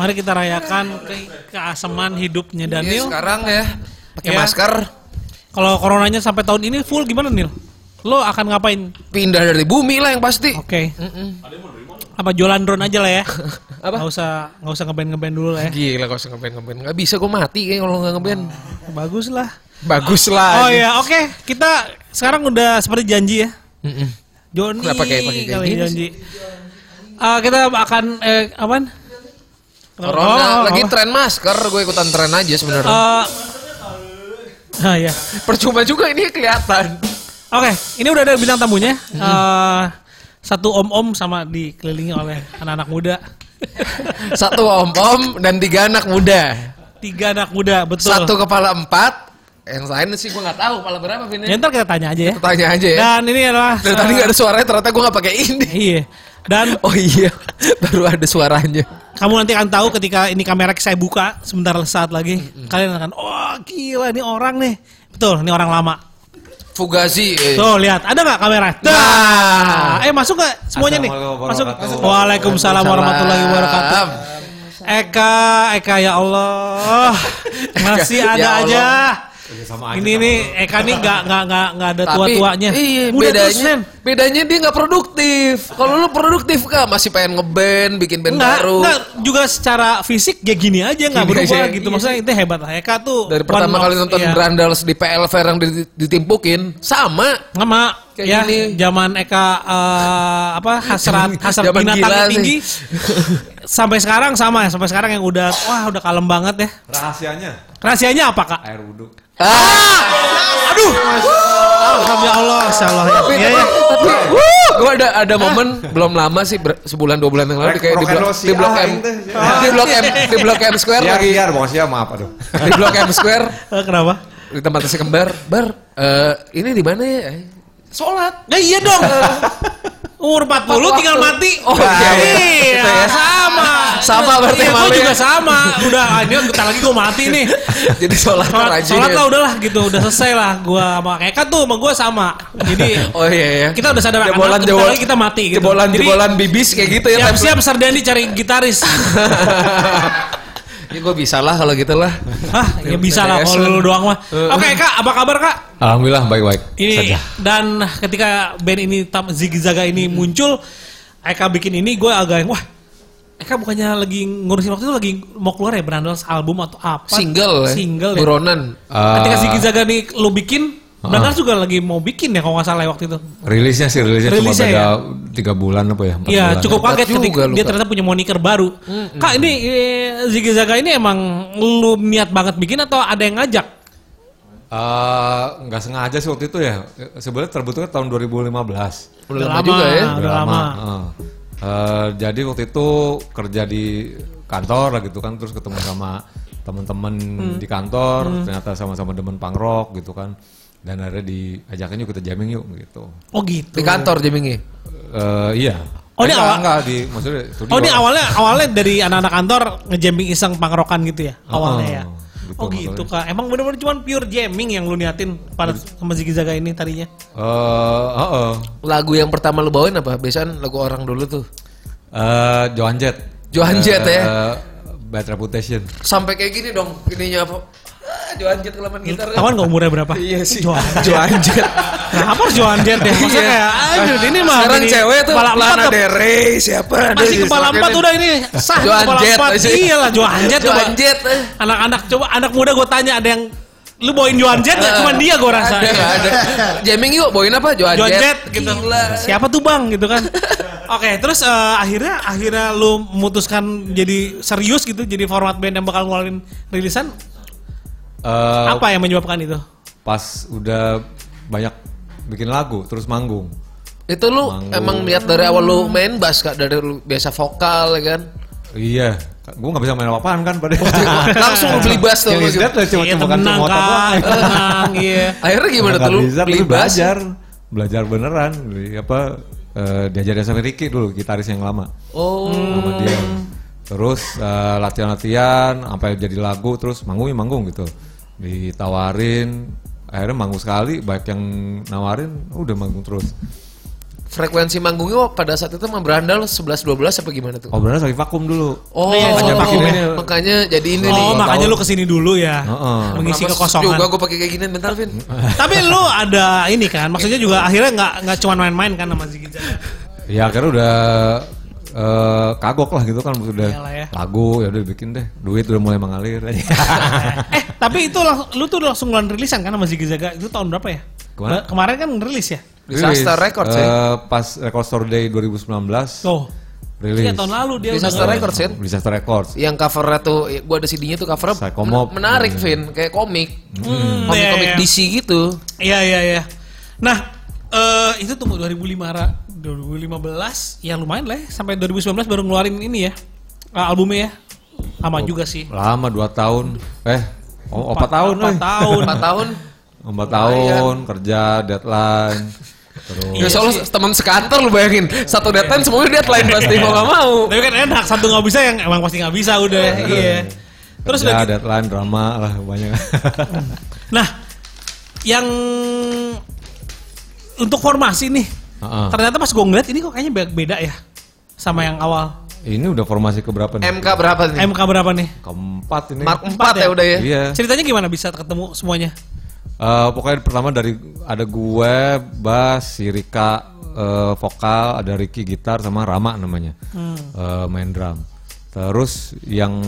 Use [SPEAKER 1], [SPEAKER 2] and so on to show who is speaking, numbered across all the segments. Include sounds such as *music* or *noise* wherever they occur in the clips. [SPEAKER 1] Mari kita rayakan ke- keaseman hidupnya
[SPEAKER 2] Iya,
[SPEAKER 1] Daniel.
[SPEAKER 2] sekarang ya pakai
[SPEAKER 1] Iya.
[SPEAKER 2] masker
[SPEAKER 1] Kalau coronanya sampai tahun ini full gimana Nil? Lo akan ngapain?
[SPEAKER 2] pindah dari bumi lah yang pasti.
[SPEAKER 1] Oke. Apa jualan drone aja lah ya?
[SPEAKER 2] *laughs* Apa?
[SPEAKER 1] Nggak usah nggak usah ngeband ngeband dulu lah ya.
[SPEAKER 2] Gila gak usah ngeband ngeband. Gak bisa gue mati kayaknya kalau nggak ngeband.
[SPEAKER 1] Bagus lah.
[SPEAKER 2] Bagus lah.
[SPEAKER 1] Oh ya, oke. Kita sekarang udah seperti janji ya.
[SPEAKER 2] Mm-mm.
[SPEAKER 1] Joni.
[SPEAKER 2] Kenapa kayak- pakai kayak
[SPEAKER 1] kali
[SPEAKER 2] gini
[SPEAKER 1] janji. Ah, kita akan eh apaan? Kenapa?
[SPEAKER 2] Corona
[SPEAKER 1] Oh, oh,
[SPEAKER 2] lagi
[SPEAKER 1] apa?
[SPEAKER 2] tren masker, gue ikutan tren aja sebenarnya.
[SPEAKER 1] Eh, ah, ya.
[SPEAKER 2] Percuma juga ini kelihatan.
[SPEAKER 1] Oke, ini udah ada bintang tamunya. Eh, satu om-om sama dikelilingi oleh anak-anak muda. *laughs*
[SPEAKER 2] Satu om om dan tiga anak muda.
[SPEAKER 1] Tiga anak muda, betul.
[SPEAKER 2] Satu kepala empat. Yang lain sih gue nggak tahu kepala berapa
[SPEAKER 1] Ya,
[SPEAKER 2] Vin.
[SPEAKER 1] ntar kita tanya aja ya.
[SPEAKER 2] Tanya aja ya.
[SPEAKER 1] Dan ini adalah
[SPEAKER 2] Dari tadi nggak ada suaranya, ternyata gue nggak pakai ini.
[SPEAKER 1] eh, Iya. Dan
[SPEAKER 2] Oh iya, *laughs* baru ada suaranya.
[SPEAKER 1] kamu nanti akan tahu ketika ini kamera saya buka sebentar saat lagi. Kalian akan, "Oh, gila ini orang nih." Betul, ini orang lama.
[SPEAKER 2] Fugazi. eh.
[SPEAKER 1] Tuh, lihat. Ada nggak kamera? Dah.
[SPEAKER 2] Nah.
[SPEAKER 1] Eh, masuk nggak semuanya nih?
[SPEAKER 3] Assalamualaikum
[SPEAKER 1] Masuk.
[SPEAKER 3] warahmatullahi
[SPEAKER 1] Waalaikumsalam warahmatullahi wabarakatuh. Eka, Eka ya
[SPEAKER 2] *laughs*
[SPEAKER 1] Allah. Masih
[SPEAKER 2] Eka,
[SPEAKER 1] ada
[SPEAKER 2] ya Allah.
[SPEAKER 1] aja.
[SPEAKER 3] Ya, sama aja
[SPEAKER 1] Ini
[SPEAKER 3] sama
[SPEAKER 1] nih Eka nih nggak nggak nggak nggak ada tua
[SPEAKER 2] Tapi,
[SPEAKER 1] tuanya.
[SPEAKER 2] Iya,
[SPEAKER 1] Muda terus
[SPEAKER 2] bedanya,
[SPEAKER 1] Nen.
[SPEAKER 2] bedanya dia nggak produktif. Kalau lu produktif kan masih pengen ngeband, bikin band
[SPEAKER 1] Enggak,
[SPEAKER 2] baru.
[SPEAKER 1] enggak, juga secara fisik ya gini aja nggak
[SPEAKER 2] Gini
[SPEAKER 1] berubah
[SPEAKER 2] aja,
[SPEAKER 1] gitu.
[SPEAKER 2] iya.
[SPEAKER 1] Maksudnya itu hebat lah Eka tuh.
[SPEAKER 2] Dari
[SPEAKER 1] one
[SPEAKER 2] pertama
[SPEAKER 1] of-
[SPEAKER 2] kali nonton
[SPEAKER 1] iya.
[SPEAKER 2] Grandals di PL Fair yang dit- ditimpukin, sama.
[SPEAKER 1] Sama
[SPEAKER 2] Kayak
[SPEAKER 1] ya
[SPEAKER 2] gini.
[SPEAKER 1] zaman Eka eh,
[SPEAKER 2] *laughs*
[SPEAKER 1] apa hasrat hasrat
[SPEAKER 2] Zaman
[SPEAKER 1] binatang
[SPEAKER 2] gila
[SPEAKER 1] yang
[SPEAKER 2] sih. *laughs*
[SPEAKER 1] tinggi sampai sekarang sama ya, sampai sekarang yang udah wah udah kalem banget ya.
[SPEAKER 3] Rahasianya
[SPEAKER 1] Rahasianya apa Kak?
[SPEAKER 3] air wudhu.
[SPEAKER 2] Ah,
[SPEAKER 1] Aduh. Alhamdulillah Allah, Masya Allah.
[SPEAKER 2] tapi,
[SPEAKER 1] Ya, ya.
[SPEAKER 2] tapi, wuh, gua ada ada
[SPEAKER 1] Ah!
[SPEAKER 2] momen belum lama sih ber- sebulan dua bulan yang lalu
[SPEAKER 3] Rek-
[SPEAKER 2] kayak di
[SPEAKER 3] rock and
[SPEAKER 2] blok
[SPEAKER 3] roll sih,
[SPEAKER 2] di blok
[SPEAKER 3] ah,
[SPEAKER 2] M
[SPEAKER 3] ini teh.
[SPEAKER 2] di blok M di blok M Square
[SPEAKER 3] Iya,
[SPEAKER 2] lagi
[SPEAKER 3] iya, makasih ya, maaf aduh.
[SPEAKER 2] di blok M Square
[SPEAKER 1] Eh, Kenapa?
[SPEAKER 2] di tempat nasi kembar bar eh, ini di mana ya sholat
[SPEAKER 1] Ya iya *laughs* dong. Umur 40 tinggal
[SPEAKER 2] Waktu.
[SPEAKER 1] mati.
[SPEAKER 2] Oh, iya, iya.
[SPEAKER 1] Iya,
[SPEAKER 2] Gitu ya.
[SPEAKER 1] sama.
[SPEAKER 2] Sama berarti
[SPEAKER 1] Iya, gua
[SPEAKER 2] malu ya.
[SPEAKER 1] juga sama. Udah, ah, ini bentar lagi gua mati
[SPEAKER 2] *laughs*
[SPEAKER 1] nih.
[SPEAKER 2] jadi sholat
[SPEAKER 1] Sholat,
[SPEAKER 2] rajin
[SPEAKER 1] sholat
[SPEAKER 2] ya.
[SPEAKER 1] lah udahlah gitu, udah selesai lah. Gua sama Eka tuh sama gua sama. Jadi
[SPEAKER 2] oh iya iya
[SPEAKER 1] kita udah sadar anak,
[SPEAKER 2] jebolan
[SPEAKER 1] bentar
[SPEAKER 2] jebolan
[SPEAKER 1] lagi kita mati gitu.
[SPEAKER 2] jebolan
[SPEAKER 1] Jadi,
[SPEAKER 2] jebolan bibis kayak gitu ya
[SPEAKER 1] Siap-siap *laughs* Sardani cari
[SPEAKER 2] *laughs*
[SPEAKER 1] gitaris.
[SPEAKER 2] ya gue bisa lah kalau gitu lah
[SPEAKER 1] Hah, ya bisa lah
[SPEAKER 2] Iya,
[SPEAKER 1] kalau lu doang mah. Oke, Kak, apa kabar, Kak?
[SPEAKER 3] Alhamdulillah baik-baik.
[SPEAKER 1] Ini dan ketika band ini tam Zigzaga ini
[SPEAKER 2] Hmm.
[SPEAKER 1] muncul, Eka bikin ini gue agak yang wah. Eka bukannya lagi ngurusin waktu itu lagi mau keluar ya Brandals album atau apa?
[SPEAKER 2] single ya.
[SPEAKER 1] Single ya.
[SPEAKER 2] buronan
[SPEAKER 1] Ketika
[SPEAKER 2] ah.
[SPEAKER 3] Eh,
[SPEAKER 1] Zigzaga nih lo bikin, Brandals juga lagi mau bikin ya kalau nggak salah ya waktu itu.
[SPEAKER 3] Rilisnya sih rilisnya,
[SPEAKER 1] Rilisnya
[SPEAKER 3] cuma beda
[SPEAKER 1] ya?
[SPEAKER 3] tiga bulan apa ya? empat
[SPEAKER 1] Iya
[SPEAKER 3] bulan.
[SPEAKER 1] cukup
[SPEAKER 2] Hebat
[SPEAKER 1] kaget
[SPEAKER 2] juga
[SPEAKER 1] ketika
[SPEAKER 2] lu,
[SPEAKER 1] dia
[SPEAKER 2] Kak.
[SPEAKER 1] ternyata punya moniker baru. Kak ini eh, Zigzaga ini emang lu niat banget bikin atau ada yang ngajak?
[SPEAKER 3] Eh, nggak sengaja sih waktu itu ya. Sebenarnya terbentuknya tahun 2015.
[SPEAKER 2] udah lama juga ya
[SPEAKER 1] Ah, udah lama.
[SPEAKER 3] Heeh. Eh, jadi waktu itu kerja di kantor lah gitu kan, terus ketemu sama teman-teman
[SPEAKER 1] Hmm.
[SPEAKER 3] di kantor, ternyata sama-sama demen pangrok gitu kan. Dan akhirnya diajakin yuk kita jamming yuk gitu.
[SPEAKER 1] Oh gitu.
[SPEAKER 2] di kantor jamingi
[SPEAKER 3] Eh, iya.
[SPEAKER 1] Oh, ini
[SPEAKER 3] enggak,
[SPEAKER 1] awal-
[SPEAKER 3] enggak, di maksudnya studio.
[SPEAKER 1] Oh ini awalnya awalnya dari anak-anak kantor ngejamming iseng pangrokan gitu ya
[SPEAKER 2] Ah,
[SPEAKER 1] awalnya ya.
[SPEAKER 3] betul,
[SPEAKER 1] oh gitu kak. Emang bener-bener cuman pure jamming yang lu niatin pada
[SPEAKER 2] Iya.
[SPEAKER 1] sama Ziggy Zaga ini tadinya.
[SPEAKER 3] Eh, heeh.
[SPEAKER 2] lagu yang pertama lu bawain apa biasanya lagu orang dulu tuh
[SPEAKER 3] Eh, Johan Jet.
[SPEAKER 2] Johan Jett ya?
[SPEAKER 3] Eh, Bad Reputation.
[SPEAKER 2] sampai kayak gini dong ininya apa Ah, Johan Jet kelamaan gitar kan?
[SPEAKER 1] Tahuan nggak umurnya berapa?
[SPEAKER 2] Iya sih.
[SPEAKER 1] Johan.
[SPEAKER 2] Johan Jet.
[SPEAKER 1] Kenapa harus Johan Jet ya? *laughs* Maksudnya
[SPEAKER 2] Iya.
[SPEAKER 1] kayak, aduh ini mah.
[SPEAKER 2] Sekarang
[SPEAKER 1] gini,
[SPEAKER 2] cewek tuh
[SPEAKER 1] Kepala empat
[SPEAKER 2] Lana
[SPEAKER 1] tuh.
[SPEAKER 2] Del Rey siapa? ada
[SPEAKER 1] Masih
[SPEAKER 2] di
[SPEAKER 1] kepala
[SPEAKER 2] semakin
[SPEAKER 1] empat
[SPEAKER 2] ini.
[SPEAKER 1] udah ini. Sah
[SPEAKER 2] Johan
[SPEAKER 1] kepala
[SPEAKER 2] Jet
[SPEAKER 1] empat.
[SPEAKER 2] aja.
[SPEAKER 1] Iya lah Johan Jet coba.
[SPEAKER 2] Johan Jet. eh.
[SPEAKER 1] Anak-anak coba anak muda gue tanya ada yang lu bawain Johan Jet nggak? Cuman dia gue rasa.
[SPEAKER 2] Ah. Ada nggak
[SPEAKER 1] *laughs*
[SPEAKER 2] ada? Jamming yuk bawain apa? Johan,
[SPEAKER 1] Joan
[SPEAKER 2] Jet.
[SPEAKER 1] Jett gitu.
[SPEAKER 2] Gila.
[SPEAKER 1] Siapa tuh bang gitu kan? Oke, terus eh, akhirnya akhirnya lu memutuskan jadi serius gitu, jadi format band yang bakal ngeluarin rilisan.
[SPEAKER 3] Eh,
[SPEAKER 1] Apa yang menyebabkan itu?
[SPEAKER 3] pas udah banyak bikin lagu terus manggung.
[SPEAKER 2] Itu lu emang lihat dari awal lu main bass kak dari lu biasa vokal ya kan?
[SPEAKER 3] Iya, gue nggak bisa main apa-apaan kan
[SPEAKER 1] Oh,
[SPEAKER 3] pada.
[SPEAKER 2] *laughs* Langsung lu beli bass tuh.
[SPEAKER 3] Yang
[SPEAKER 2] lu. gitu.
[SPEAKER 3] lihat lah cuma
[SPEAKER 1] Iya,
[SPEAKER 3] cuma kan
[SPEAKER 1] tenang
[SPEAKER 3] cuma otak
[SPEAKER 1] kan,
[SPEAKER 3] doang.
[SPEAKER 1] tenang, iya.
[SPEAKER 2] Akhirnya gimana
[SPEAKER 3] Nggak
[SPEAKER 2] tuh lu
[SPEAKER 3] bisa,
[SPEAKER 2] beli
[SPEAKER 3] terus
[SPEAKER 2] bass?
[SPEAKER 3] belajar, belajar beneran. Beli apa eh, diajarin sama Ricky dulu gitaris yang lama
[SPEAKER 2] Oh,
[SPEAKER 3] sama dia.
[SPEAKER 1] Hmm.
[SPEAKER 3] Terus eh, latihan-latihan sampai jadi lagu terus manggung ya manggung gitu. Ditawarin akhirnya manggung sekali baik yang nawarin udah manggung terus.
[SPEAKER 2] frekuensi manggungnya pada saat itu mah berandal 11 12 apa gimana tuh?
[SPEAKER 3] Oh benar lagi vakum dulu.
[SPEAKER 2] Oh,
[SPEAKER 1] Iya,
[SPEAKER 3] makanya pakai gini.
[SPEAKER 2] makanya jadi ini nih.
[SPEAKER 1] Oh,
[SPEAKER 3] Dua
[SPEAKER 1] makanya
[SPEAKER 3] tahun.
[SPEAKER 1] lu kesini dulu ya.
[SPEAKER 3] Heeh.
[SPEAKER 1] Mengisi
[SPEAKER 2] Kenapa
[SPEAKER 1] kekosongan.
[SPEAKER 2] Juga gue pakai kayak gini bentar, Vin.
[SPEAKER 1] Tapi lu ada ini kan, maksudnya juga akhirnya nggak nggak cuma main-main kan sama Ziggy Zaga.
[SPEAKER 3] Ya akhirnya udah eh, kagok lah gitu kan udah
[SPEAKER 1] Iyalah ya.
[SPEAKER 3] lagu ya udah bikin deh duit udah mulai mengalir *laughs*
[SPEAKER 1] eh, tapi itu lang- lu tuh langsung ngeluarin rilisan kan sama Ziggy Zaga. Itu tahun berapa ya?
[SPEAKER 3] Kemana?
[SPEAKER 1] *laughs* Ba- Kemarin kan rilis ya?
[SPEAKER 2] Disaster
[SPEAKER 3] Rilis,
[SPEAKER 2] Records, ya?
[SPEAKER 3] eh, pas Record Store Day 2019
[SPEAKER 1] Tuh.
[SPEAKER 3] rilis
[SPEAKER 1] Iya tahun lalu dia
[SPEAKER 2] Disaster
[SPEAKER 1] udah-
[SPEAKER 2] Records, Vin.
[SPEAKER 3] Disaster Records
[SPEAKER 2] Yang covernya tuh, gue ada CD-nya tuh covernya
[SPEAKER 3] Psychomob.
[SPEAKER 2] men- menarik, Vin. Kayak komik.
[SPEAKER 1] iya, iya.
[SPEAKER 2] Komik-komik DC gitu.
[SPEAKER 1] Iya, iya, iya. Nah, eh itu tunggu 2005 Ra. 2015 ya lumayan lah ya. sampai 2019 baru ngeluarin ini ya eh, albumnya ya lama juga sih
[SPEAKER 3] lama 2 tahun eh oh, 4 tahun
[SPEAKER 1] *laughs* empat
[SPEAKER 3] eh.
[SPEAKER 1] tahun
[SPEAKER 2] 4 tahun.
[SPEAKER 3] 4 tahun kerja deadline terus
[SPEAKER 2] Ya soalnya teman sekantor lu bayangin. Satu deadline semuanya deadline pasti mau gak mau.
[SPEAKER 1] Iya. tapi kan enak satu nggak bisa yang emang pasti nggak bisa udah iya terus udah
[SPEAKER 3] eh, kerja,
[SPEAKER 1] gitu-
[SPEAKER 3] deadline drama lah
[SPEAKER 1] *laughs*
[SPEAKER 3] banyak
[SPEAKER 1] nah yang untuk formasi nih
[SPEAKER 3] Heeh.
[SPEAKER 1] ternyata pas gue ngeliat ini kok kayaknya be- beda ya sama yang awal
[SPEAKER 3] ini udah formasi keberapa nih
[SPEAKER 2] MK berapa nih?
[SPEAKER 1] MK berapa nih
[SPEAKER 3] keempat ini
[SPEAKER 2] Mark 4 ya udah ya.
[SPEAKER 3] iya
[SPEAKER 1] ceritanya gimana bisa ketemu semuanya
[SPEAKER 3] Eh, pokoknya pertama dari ada gue, bass, si Rika eh, vokal, ada Ricky gitar sama Rama namanya
[SPEAKER 1] Hmm.
[SPEAKER 3] Eh, main drum. Terus yang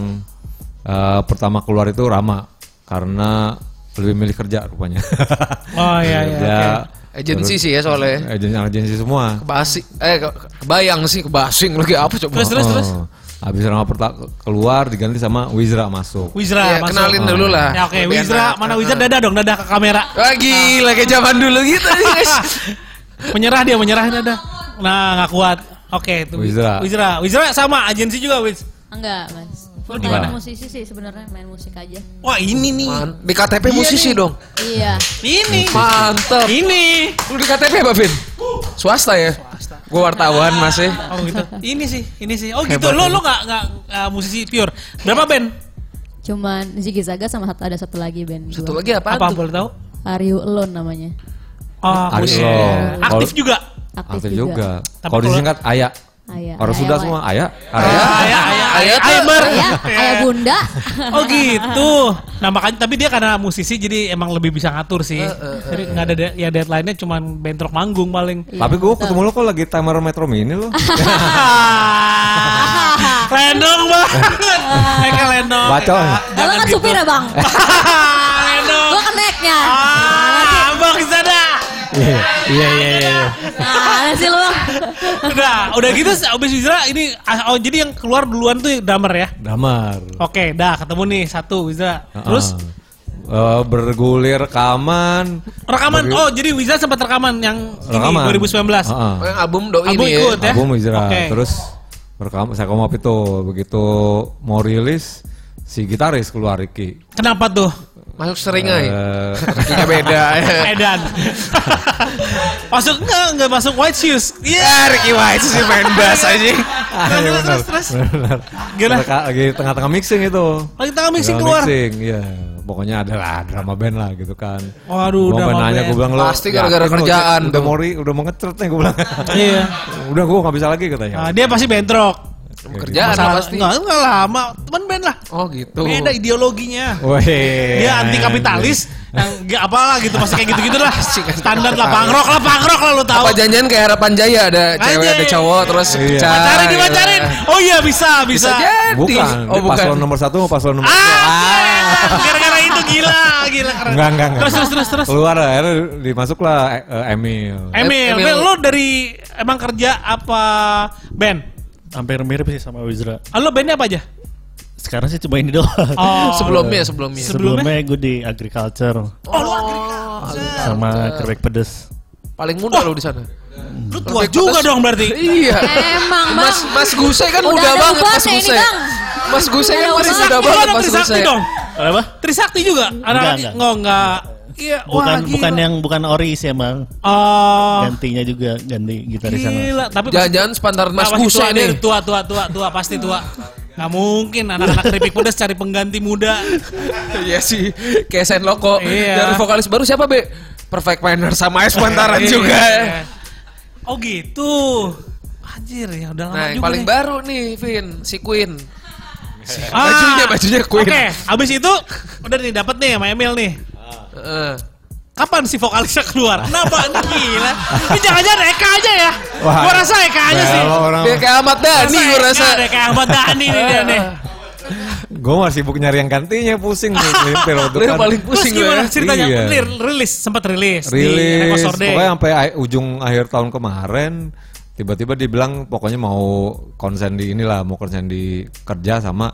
[SPEAKER 3] eh, pertama keluar itu Rama karena lebih milih kerja rupanya.
[SPEAKER 1] *laughs* oh iya iya
[SPEAKER 3] Kerja,
[SPEAKER 2] Agency sih ya soalnya.
[SPEAKER 3] agen- agensi semua.
[SPEAKER 2] Kebasi, eh ke- kebayang sih kebasing lu kayak apa coba.
[SPEAKER 1] terus terus terus
[SPEAKER 3] Oh. Habis Rama perta- keluar diganti sama Wizra masuk.
[SPEAKER 1] Wizra
[SPEAKER 2] Ya, kenalin dulu lah.
[SPEAKER 1] ya oke
[SPEAKER 2] Lebih
[SPEAKER 1] Wizra
[SPEAKER 2] enak. Ah.
[SPEAKER 1] mana Wizra dadah dong dadah ke kamera Ah.
[SPEAKER 2] Wah gila kayak zaman dulu gitu nih
[SPEAKER 1] *laughs*
[SPEAKER 2] guys.
[SPEAKER 1] menyerah dia menyerah dadah nah nggak kuat oke itu
[SPEAKER 3] Wizra.
[SPEAKER 1] Wizra Wizra sama agensi juga Wiz
[SPEAKER 4] Enggak, Mas. Full
[SPEAKER 3] gimana?
[SPEAKER 4] time musisi sih sebenarnya main musik aja.
[SPEAKER 1] wah ini nih
[SPEAKER 2] Man, di KTP musisi dong.
[SPEAKER 4] Iya.
[SPEAKER 1] ini
[SPEAKER 2] Mantap.
[SPEAKER 1] ini
[SPEAKER 2] Lu di KTP apa, Vin? Swasta ya? Gua wartawan ya. masih.
[SPEAKER 1] Oh gitu. ini sih, ini sih. Oh gitu. Lo lo nggak nggak nggak eh, musisi pure. Berapa band?
[SPEAKER 4] Cuman Ziggy Zaga sama satu ada satu lagi band.
[SPEAKER 2] Satu
[SPEAKER 4] gua.
[SPEAKER 2] lagi apa,
[SPEAKER 1] Apa
[SPEAKER 2] tuh?
[SPEAKER 1] boleh tahu?
[SPEAKER 4] Are You Alone namanya.
[SPEAKER 1] Oh,
[SPEAKER 3] Ada
[SPEAKER 1] musisi.
[SPEAKER 3] lo.
[SPEAKER 1] Aktif juga.
[SPEAKER 4] Aktif,
[SPEAKER 3] Aktif juga.
[SPEAKER 1] Tapi
[SPEAKER 3] Kalau
[SPEAKER 1] kalau-
[SPEAKER 3] disingkat Aya.
[SPEAKER 4] Aya.
[SPEAKER 3] Orang
[SPEAKER 4] Aya
[SPEAKER 3] Sunda
[SPEAKER 4] Wan.
[SPEAKER 3] semua Aya.
[SPEAKER 1] Ayah,
[SPEAKER 3] Aya.
[SPEAKER 1] ayah, ayah,
[SPEAKER 2] Ayah
[SPEAKER 1] ayah,
[SPEAKER 2] Ya. tuh- Ya.
[SPEAKER 1] Aimer.
[SPEAKER 4] Aya, Aya Oh iya,
[SPEAKER 2] *laughs*
[SPEAKER 4] Bunda.
[SPEAKER 1] Oh gitu. Nah makanya tapi dia karena musisi jadi emang lebih bisa ngatur
[SPEAKER 4] Eh,
[SPEAKER 1] sih. Jadi nggak ada de- ya deadline-nya cuman bentrok manggung paling.
[SPEAKER 4] Iya.
[SPEAKER 3] Tapi gue ketemu lo kok lagi timer Metro Mini lo.
[SPEAKER 1] *laughs* Lendong banget. Mereka lendong.
[SPEAKER 3] Bacol.
[SPEAKER 1] Eka.
[SPEAKER 4] Kalau Ah. kan supir
[SPEAKER 2] gitu.
[SPEAKER 4] ya, Bang.
[SPEAKER 1] *laughs*
[SPEAKER 4] kan
[SPEAKER 1] Lendong.
[SPEAKER 4] Gua keneknya.
[SPEAKER 1] Ah, abang di sana.
[SPEAKER 3] Iya, iya, iya, iya.
[SPEAKER 4] Mana sih lu? Bang?
[SPEAKER 1] Udah, udah gitu abis Wizra ini oh jadi yang keluar duluan tuh drummer ya.
[SPEAKER 3] Damar.
[SPEAKER 1] Oke, dah ketemu nih satu Wizra.
[SPEAKER 3] Ah,
[SPEAKER 1] Terus
[SPEAKER 3] Eh, bergulir rekaman,
[SPEAKER 1] rekaman. Oh, jadi Wizra sempat rekaman yang ini
[SPEAKER 3] rekaman. Ah,
[SPEAKER 1] 2019.
[SPEAKER 3] Heeh. Nah,
[SPEAKER 2] Oh, yang album doi
[SPEAKER 1] Album
[SPEAKER 2] ini ya.
[SPEAKER 1] ikut ya.
[SPEAKER 3] Album Hijrah.
[SPEAKER 1] Oke.
[SPEAKER 3] Terus rekam saya komap itu begitu mau rilis si gitaris keluar Ricky.
[SPEAKER 1] Kenapa tuh?
[SPEAKER 2] Masuk seringai.
[SPEAKER 3] Eh,
[SPEAKER 2] Kakinya beda. Eh,
[SPEAKER 1] Edan. masuk enggak enggak masuk White Shoes. Iya.
[SPEAKER 2] Ya, Ricky Wise sih main bass aja.
[SPEAKER 1] Terus
[SPEAKER 3] benar,
[SPEAKER 1] terus terus.
[SPEAKER 3] benar.
[SPEAKER 1] *laughs* Gila.
[SPEAKER 3] Mereka lagi tengah-tengah mixing itu.
[SPEAKER 1] Lagi tengah mixing
[SPEAKER 3] Tengah
[SPEAKER 1] keluar.
[SPEAKER 3] Mixing, iya. Pokoknya adalah drama band lah gitu kan.
[SPEAKER 1] Waduh,
[SPEAKER 3] gua
[SPEAKER 1] drama
[SPEAKER 3] drama nanya,
[SPEAKER 1] band.
[SPEAKER 3] Gue bilang lo
[SPEAKER 2] Pasti gara-gara
[SPEAKER 3] yakin lo,
[SPEAKER 2] kerjaan
[SPEAKER 3] Udah
[SPEAKER 2] tuh.
[SPEAKER 3] mau ri- udah mau ngecret nih gue
[SPEAKER 2] *laughs*
[SPEAKER 3] bilang.
[SPEAKER 1] Iya.
[SPEAKER 3] udah gue nggak bisa lagi katanya.
[SPEAKER 1] Nah, dia pasti bentrok.
[SPEAKER 2] Kerjaan lah
[SPEAKER 1] Masalah-
[SPEAKER 2] pasti.
[SPEAKER 1] Enggak, enggak lama. Teman band lah.
[SPEAKER 2] Oh gitu.
[SPEAKER 1] Beda ideologinya.
[SPEAKER 3] Wih,
[SPEAKER 1] dia anti
[SPEAKER 3] iya,
[SPEAKER 1] kapitalis yang gak apalah gitu pasti kayak gitu-gitu lah standar lah pangrok lah pangrok lah lu tahu
[SPEAKER 2] Apa janjian kayak harapan jaya ada cewek
[SPEAKER 1] Anjay.
[SPEAKER 2] ada cowok terus
[SPEAKER 3] Iya.
[SPEAKER 2] pecah.
[SPEAKER 1] pacarin dipacarin oh iya bisa
[SPEAKER 2] Bisa
[SPEAKER 1] bisa,
[SPEAKER 2] jadi.
[SPEAKER 3] Bukan,
[SPEAKER 2] Oh
[SPEAKER 3] dia
[SPEAKER 2] bukan.
[SPEAKER 3] paslon nomor satu sama paslon nomor dua.
[SPEAKER 1] ah gara-gara itu gila gila keren
[SPEAKER 3] Enggak, enggak, enggak.
[SPEAKER 1] terus terus terus terus
[SPEAKER 3] Keluar akhirnya dimasuklah eh, eh, Emil.
[SPEAKER 1] Emil,
[SPEAKER 2] Emil.
[SPEAKER 1] Emil, lo dari emang kerja apa band?
[SPEAKER 5] hampir mirip sih sama Wizra.
[SPEAKER 1] Ah, Lo bandnya apa aja?
[SPEAKER 5] Sekarang sih cuma ini doang.
[SPEAKER 1] *laughs* Oh,
[SPEAKER 2] Sebelumnya sebelumnya.
[SPEAKER 5] Sebelumnya, gue di agriculture
[SPEAKER 1] oh, lo,
[SPEAKER 5] sama keripik pedes.
[SPEAKER 2] Paling muda lo di sana.
[SPEAKER 1] lo tua juga dong berarti.
[SPEAKER 2] Iya.
[SPEAKER 4] Emang, Bang.
[SPEAKER 2] Mas Mas Guse kan
[SPEAKER 4] Udah
[SPEAKER 2] muda
[SPEAKER 4] ada
[SPEAKER 2] banget Mas
[SPEAKER 4] ubannya ini,
[SPEAKER 2] Guse.
[SPEAKER 4] Bang.
[SPEAKER 2] Mas Guse kan
[SPEAKER 4] Udah
[SPEAKER 2] masih
[SPEAKER 4] uban.
[SPEAKER 1] Trisakti dong,
[SPEAKER 2] muda banget Mas
[SPEAKER 1] Trisakti
[SPEAKER 2] Guse.
[SPEAKER 1] dong.
[SPEAKER 5] Apa?
[SPEAKER 1] Trisakti juga.
[SPEAKER 5] Enggak,
[SPEAKER 1] Anak
[SPEAKER 5] enggak.
[SPEAKER 1] enggak enggak. Iya, wah
[SPEAKER 5] Bukan bukan
[SPEAKER 1] gila.
[SPEAKER 5] yang bukan ori sih emang.
[SPEAKER 1] Oh,
[SPEAKER 5] Gantinya juga ganti gitaris sama.
[SPEAKER 1] gila. Tapi
[SPEAKER 2] Jangan-jangan sepantar Mas
[SPEAKER 1] Nah, pasti
[SPEAKER 2] Guse
[SPEAKER 1] tua
[SPEAKER 2] nih.
[SPEAKER 1] deh, tua tua tua tua pasti tua. Gak mungkin anak-anak keripik pedas cari pengganti muda.
[SPEAKER 2] Iya sih, kayak Sen Loko.
[SPEAKER 1] Iya.
[SPEAKER 2] Dan vokalis baru siapa, Be? Perfect Manner sama Espantaran
[SPEAKER 1] Iya.
[SPEAKER 2] juga ya.
[SPEAKER 1] Oh gitu. Anjir ya udah lama
[SPEAKER 2] Nah, yang
[SPEAKER 1] juga
[SPEAKER 2] paling
[SPEAKER 1] nih.
[SPEAKER 2] baru nih, Vin, si Queen.
[SPEAKER 1] Ah,
[SPEAKER 2] Bajunya, bajunya Queen.
[SPEAKER 1] Oke, abis itu udah nih dapat nih sama Emil nih.
[SPEAKER 2] Heeh.
[SPEAKER 1] Kapan si vokalisnya keluar? Kenapa? Ini gila. Ini jangan-jangan Eka aja ya.
[SPEAKER 3] Wah.
[SPEAKER 1] Gua rasa Eka aja sih.
[SPEAKER 3] Kalau orang,
[SPEAKER 2] Dia Iya kayak Ahmad Dhani
[SPEAKER 1] Eka
[SPEAKER 2] gue rasa.
[SPEAKER 1] deh, ya, Kayak Ahmad Dhani nih dia
[SPEAKER 3] *laughs*
[SPEAKER 1] nih.
[SPEAKER 3] gue masih sibuk nyari yang gantinya pusing
[SPEAKER 1] *laughs*
[SPEAKER 3] nih. Nyelintir waktu
[SPEAKER 2] Dia
[SPEAKER 3] kan.
[SPEAKER 2] paling
[SPEAKER 1] Terus
[SPEAKER 2] pusing gue.
[SPEAKER 1] gimana ceritanya?
[SPEAKER 3] Iya.
[SPEAKER 1] Lir- Rilis, sempat rilis, di Neko
[SPEAKER 3] rilis
[SPEAKER 1] Sorde.
[SPEAKER 3] pokoknya sampai ai- ujung akhir tahun kemarin tiba-tiba dibilang pokoknya mau konsen di inilah mau konsen di kerja sama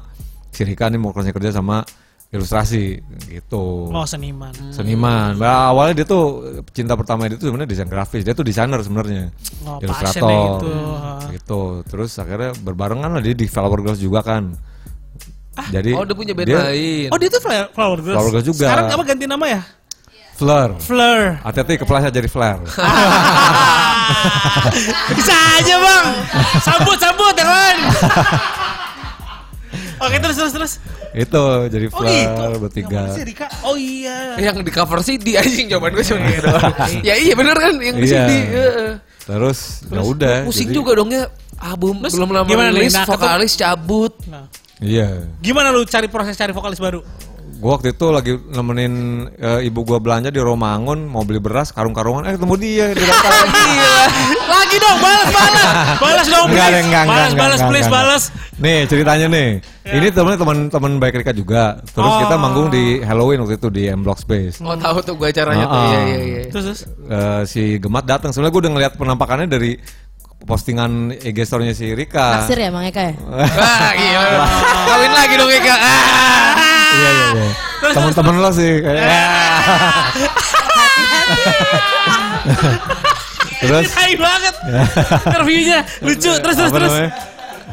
[SPEAKER 3] Sirika nih mau konsen kerja sama ilustrasi gitu
[SPEAKER 1] Oh seniman.
[SPEAKER 3] seniman Nah, awalnya dia tuh cinta pertama dia tuh sebenarnya desain grafis dia tuh desainer sebenarnya
[SPEAKER 1] Oh, passionnya
[SPEAKER 3] ilustrator
[SPEAKER 1] gitu.
[SPEAKER 3] gitu terus akhirnya berbarengan lah dia di Flower Girls juga kan jadi
[SPEAKER 2] Oh, dia punya band
[SPEAKER 3] dia
[SPEAKER 2] lain.
[SPEAKER 1] Oh dia tuh Flower, flower Girls.
[SPEAKER 3] Flower Girls juga.
[SPEAKER 1] Sekarang apa ganti nama ya?
[SPEAKER 3] Fleur
[SPEAKER 1] Fleur. *laughs*
[SPEAKER 3] hati-hati kepleset jadi Flare
[SPEAKER 1] Bisa aja bang. Sambut sambut ya kan.
[SPEAKER 3] *laughs*
[SPEAKER 1] Oke terus terus terus.
[SPEAKER 3] itu jadi
[SPEAKER 1] Oh
[SPEAKER 3] Fleur
[SPEAKER 1] gitu. Yang
[SPEAKER 3] bertiga Eh.
[SPEAKER 1] mana sih, Rika? Oh iya.
[SPEAKER 2] Yang di cover CD anjing jawaban gue cuma gitu.
[SPEAKER 1] *laughs*
[SPEAKER 2] doang. Ya iya bener kan yang di
[SPEAKER 3] Iya.
[SPEAKER 2] CD. heeh.
[SPEAKER 3] Terus ya udah.
[SPEAKER 2] Pusing
[SPEAKER 3] jadi-
[SPEAKER 2] juga dong ya album
[SPEAKER 1] Terus
[SPEAKER 2] belum lama
[SPEAKER 1] gimana nih?
[SPEAKER 2] rilis,
[SPEAKER 1] Nah, ketemu-
[SPEAKER 2] vokalis cabut.
[SPEAKER 1] Nah,
[SPEAKER 3] Iya.
[SPEAKER 1] Gimana lu cari proses cari vokalis baru?
[SPEAKER 3] Gua waktu itu lagi nemenin eh, ibu gua belanja di Romangun mau beli beras karung-karungan eh ketemu dia di Bangkalan.
[SPEAKER 2] Iya.
[SPEAKER 1] Lagi dong balas
[SPEAKER 3] *laughs*
[SPEAKER 1] balas. Balas dong
[SPEAKER 3] Enggak,
[SPEAKER 1] please. balas
[SPEAKER 3] enggak, enggak, enggak,
[SPEAKER 1] balas
[SPEAKER 3] enggak,
[SPEAKER 1] please
[SPEAKER 3] enggak,
[SPEAKER 1] balas.
[SPEAKER 3] enggak. Nih ceritanya nih. Ini teman-teman teman baik Rika juga. Terus kita
[SPEAKER 1] Oh.
[SPEAKER 3] manggung di Halloween waktu itu di M Block Space.
[SPEAKER 2] Oh tahu tuh gue acaranya tuh.
[SPEAKER 3] Heeh.
[SPEAKER 2] Iya iya
[SPEAKER 3] *laughs*
[SPEAKER 2] iya.
[SPEAKER 1] Terus terus.
[SPEAKER 3] Eh, si Gemat datang. Sebenarnya gua udah ngeliat penampakannya dari postingan IG store-nya si Rika. Iya,
[SPEAKER 4] Naksir ya Mang Eka ya?
[SPEAKER 2] Wah, gila. Ah, iya. Kawin lagi dong Eka. Ah.
[SPEAKER 3] Iya iya iya.
[SPEAKER 1] Terus,
[SPEAKER 3] Teman-teman lo sih
[SPEAKER 1] Ya.
[SPEAKER 3] kayak. *laughs* Terus
[SPEAKER 1] Hai
[SPEAKER 3] *laughs*
[SPEAKER 1] banget. Interviewnya lucu terus terus
[SPEAKER 3] Apa
[SPEAKER 1] terus. Ah.
[SPEAKER 3] namanya?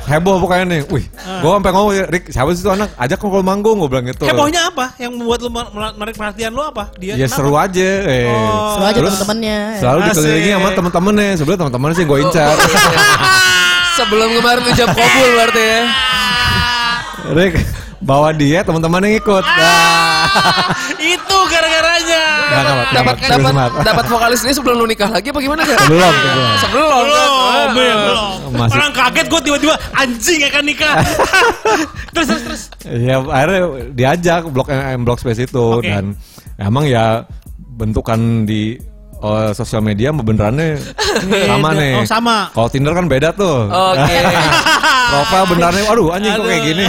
[SPEAKER 3] heboh pokoknya nih. Wih, gue sampai ngomong, Rick, siapa sih itu anak? Ajak kalau manggung, gue bilang gitu.
[SPEAKER 1] Hebohnya apa? Yang membuat lu mer- menarik perhatian lu apa? Dia
[SPEAKER 3] Ya
[SPEAKER 1] kenapa?
[SPEAKER 3] seru aja. Eh.
[SPEAKER 1] Oh.
[SPEAKER 4] Seru aja
[SPEAKER 3] Terus
[SPEAKER 4] temen-temennya.
[SPEAKER 3] Selalu
[SPEAKER 1] Asik.
[SPEAKER 3] dikelilingi sama teman-temannya. Sebenarnya teman-teman sih gue
[SPEAKER 1] *laughs*
[SPEAKER 3] incar.
[SPEAKER 2] Sebelum kemarin ijab kabul berarti ya.
[SPEAKER 3] Rick bawa dia, teman-temannya ngikut.
[SPEAKER 1] Itu gara-garanya.
[SPEAKER 3] Nah, dapat,
[SPEAKER 2] Dapat dapat dapat vokalis ini sebelum lu nikah lagi apa gimana kan?
[SPEAKER 3] Belum, belum.
[SPEAKER 2] Sebelum. kan?
[SPEAKER 1] Belum, belum.
[SPEAKER 3] Ah, Masih-
[SPEAKER 1] Orang kaget gue tiba-tiba anjing akan nikah.
[SPEAKER 3] *laughs*
[SPEAKER 1] terus terus terus.
[SPEAKER 3] Ya akhirnya diajak blok M blok space itu
[SPEAKER 1] Oke.
[SPEAKER 3] dan emang ya bentukan di eh, sosial media sama benerannya sama
[SPEAKER 1] Beda.
[SPEAKER 3] nih.
[SPEAKER 1] Oh, sama.
[SPEAKER 3] Kalau Tinder kan beda tuh.
[SPEAKER 2] Oke.
[SPEAKER 3] Profil benerannya, aduh anjing kok kayak gini.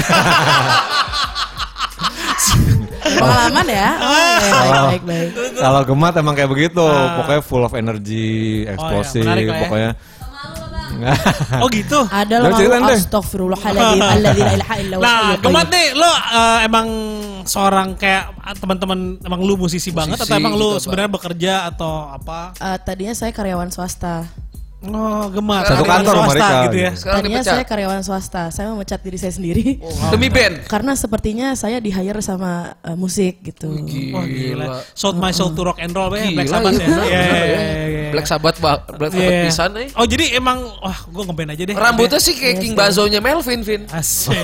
[SPEAKER 4] Pengalaman ya?
[SPEAKER 3] Kalau-
[SPEAKER 4] baik, baik.
[SPEAKER 3] Kalau gemat emang kayak begitu, pokoknya full of energy, eksplosif,
[SPEAKER 1] menarik lah ya.
[SPEAKER 3] pokoknya.
[SPEAKER 1] Oh gitu.
[SPEAKER 6] Ada
[SPEAKER 3] Jangan ceritain
[SPEAKER 6] lalu
[SPEAKER 3] deh.
[SPEAKER 2] *laughs*
[SPEAKER 6] astagfirullahaladzim
[SPEAKER 1] *laughs*
[SPEAKER 6] alladzi la ilaha illa huwal
[SPEAKER 1] Nah,
[SPEAKER 6] hayyul
[SPEAKER 1] Gemat
[SPEAKER 6] qayyum.
[SPEAKER 1] nih lo eh, emang seorang kayak ah, teman-teman emang lu musisi, banget atau emang lu
[SPEAKER 2] gitu, Pak.
[SPEAKER 1] sebenarnya bekerja atau apa?
[SPEAKER 6] Eh, tadinya saya karyawan swasta.
[SPEAKER 1] Oh, Gemat.
[SPEAKER 2] Satu
[SPEAKER 1] Karyawan
[SPEAKER 3] kantor sama
[SPEAKER 1] swasta
[SPEAKER 3] mereka.
[SPEAKER 1] gitu ya.
[SPEAKER 2] Sekarang
[SPEAKER 6] Tadinya saya
[SPEAKER 2] dipecat.
[SPEAKER 6] karyawan swasta. Saya memecat diri saya sendiri.
[SPEAKER 2] *laughs* Demi band.
[SPEAKER 6] Karena sepertinya saya di hire sama eh, musik gitu.
[SPEAKER 2] Oh,
[SPEAKER 1] Wah gila. Sold my soul to rock and roll ya, Black
[SPEAKER 2] Gila,
[SPEAKER 1] Sabbath
[SPEAKER 2] *laughs*
[SPEAKER 1] ya. Iya,
[SPEAKER 2] iya, bener
[SPEAKER 1] iya,
[SPEAKER 2] ya.
[SPEAKER 1] iya, iya.
[SPEAKER 2] Black Sabbath ba- Black Sabbath
[SPEAKER 1] Iya.
[SPEAKER 2] pisan eh. nih.
[SPEAKER 1] Oh iya. jadi emang wah gue ngeband aja deh.
[SPEAKER 2] Rambutnya sih kayak King Bazonya Melvin, Vin. *laughs*
[SPEAKER 1] Asik.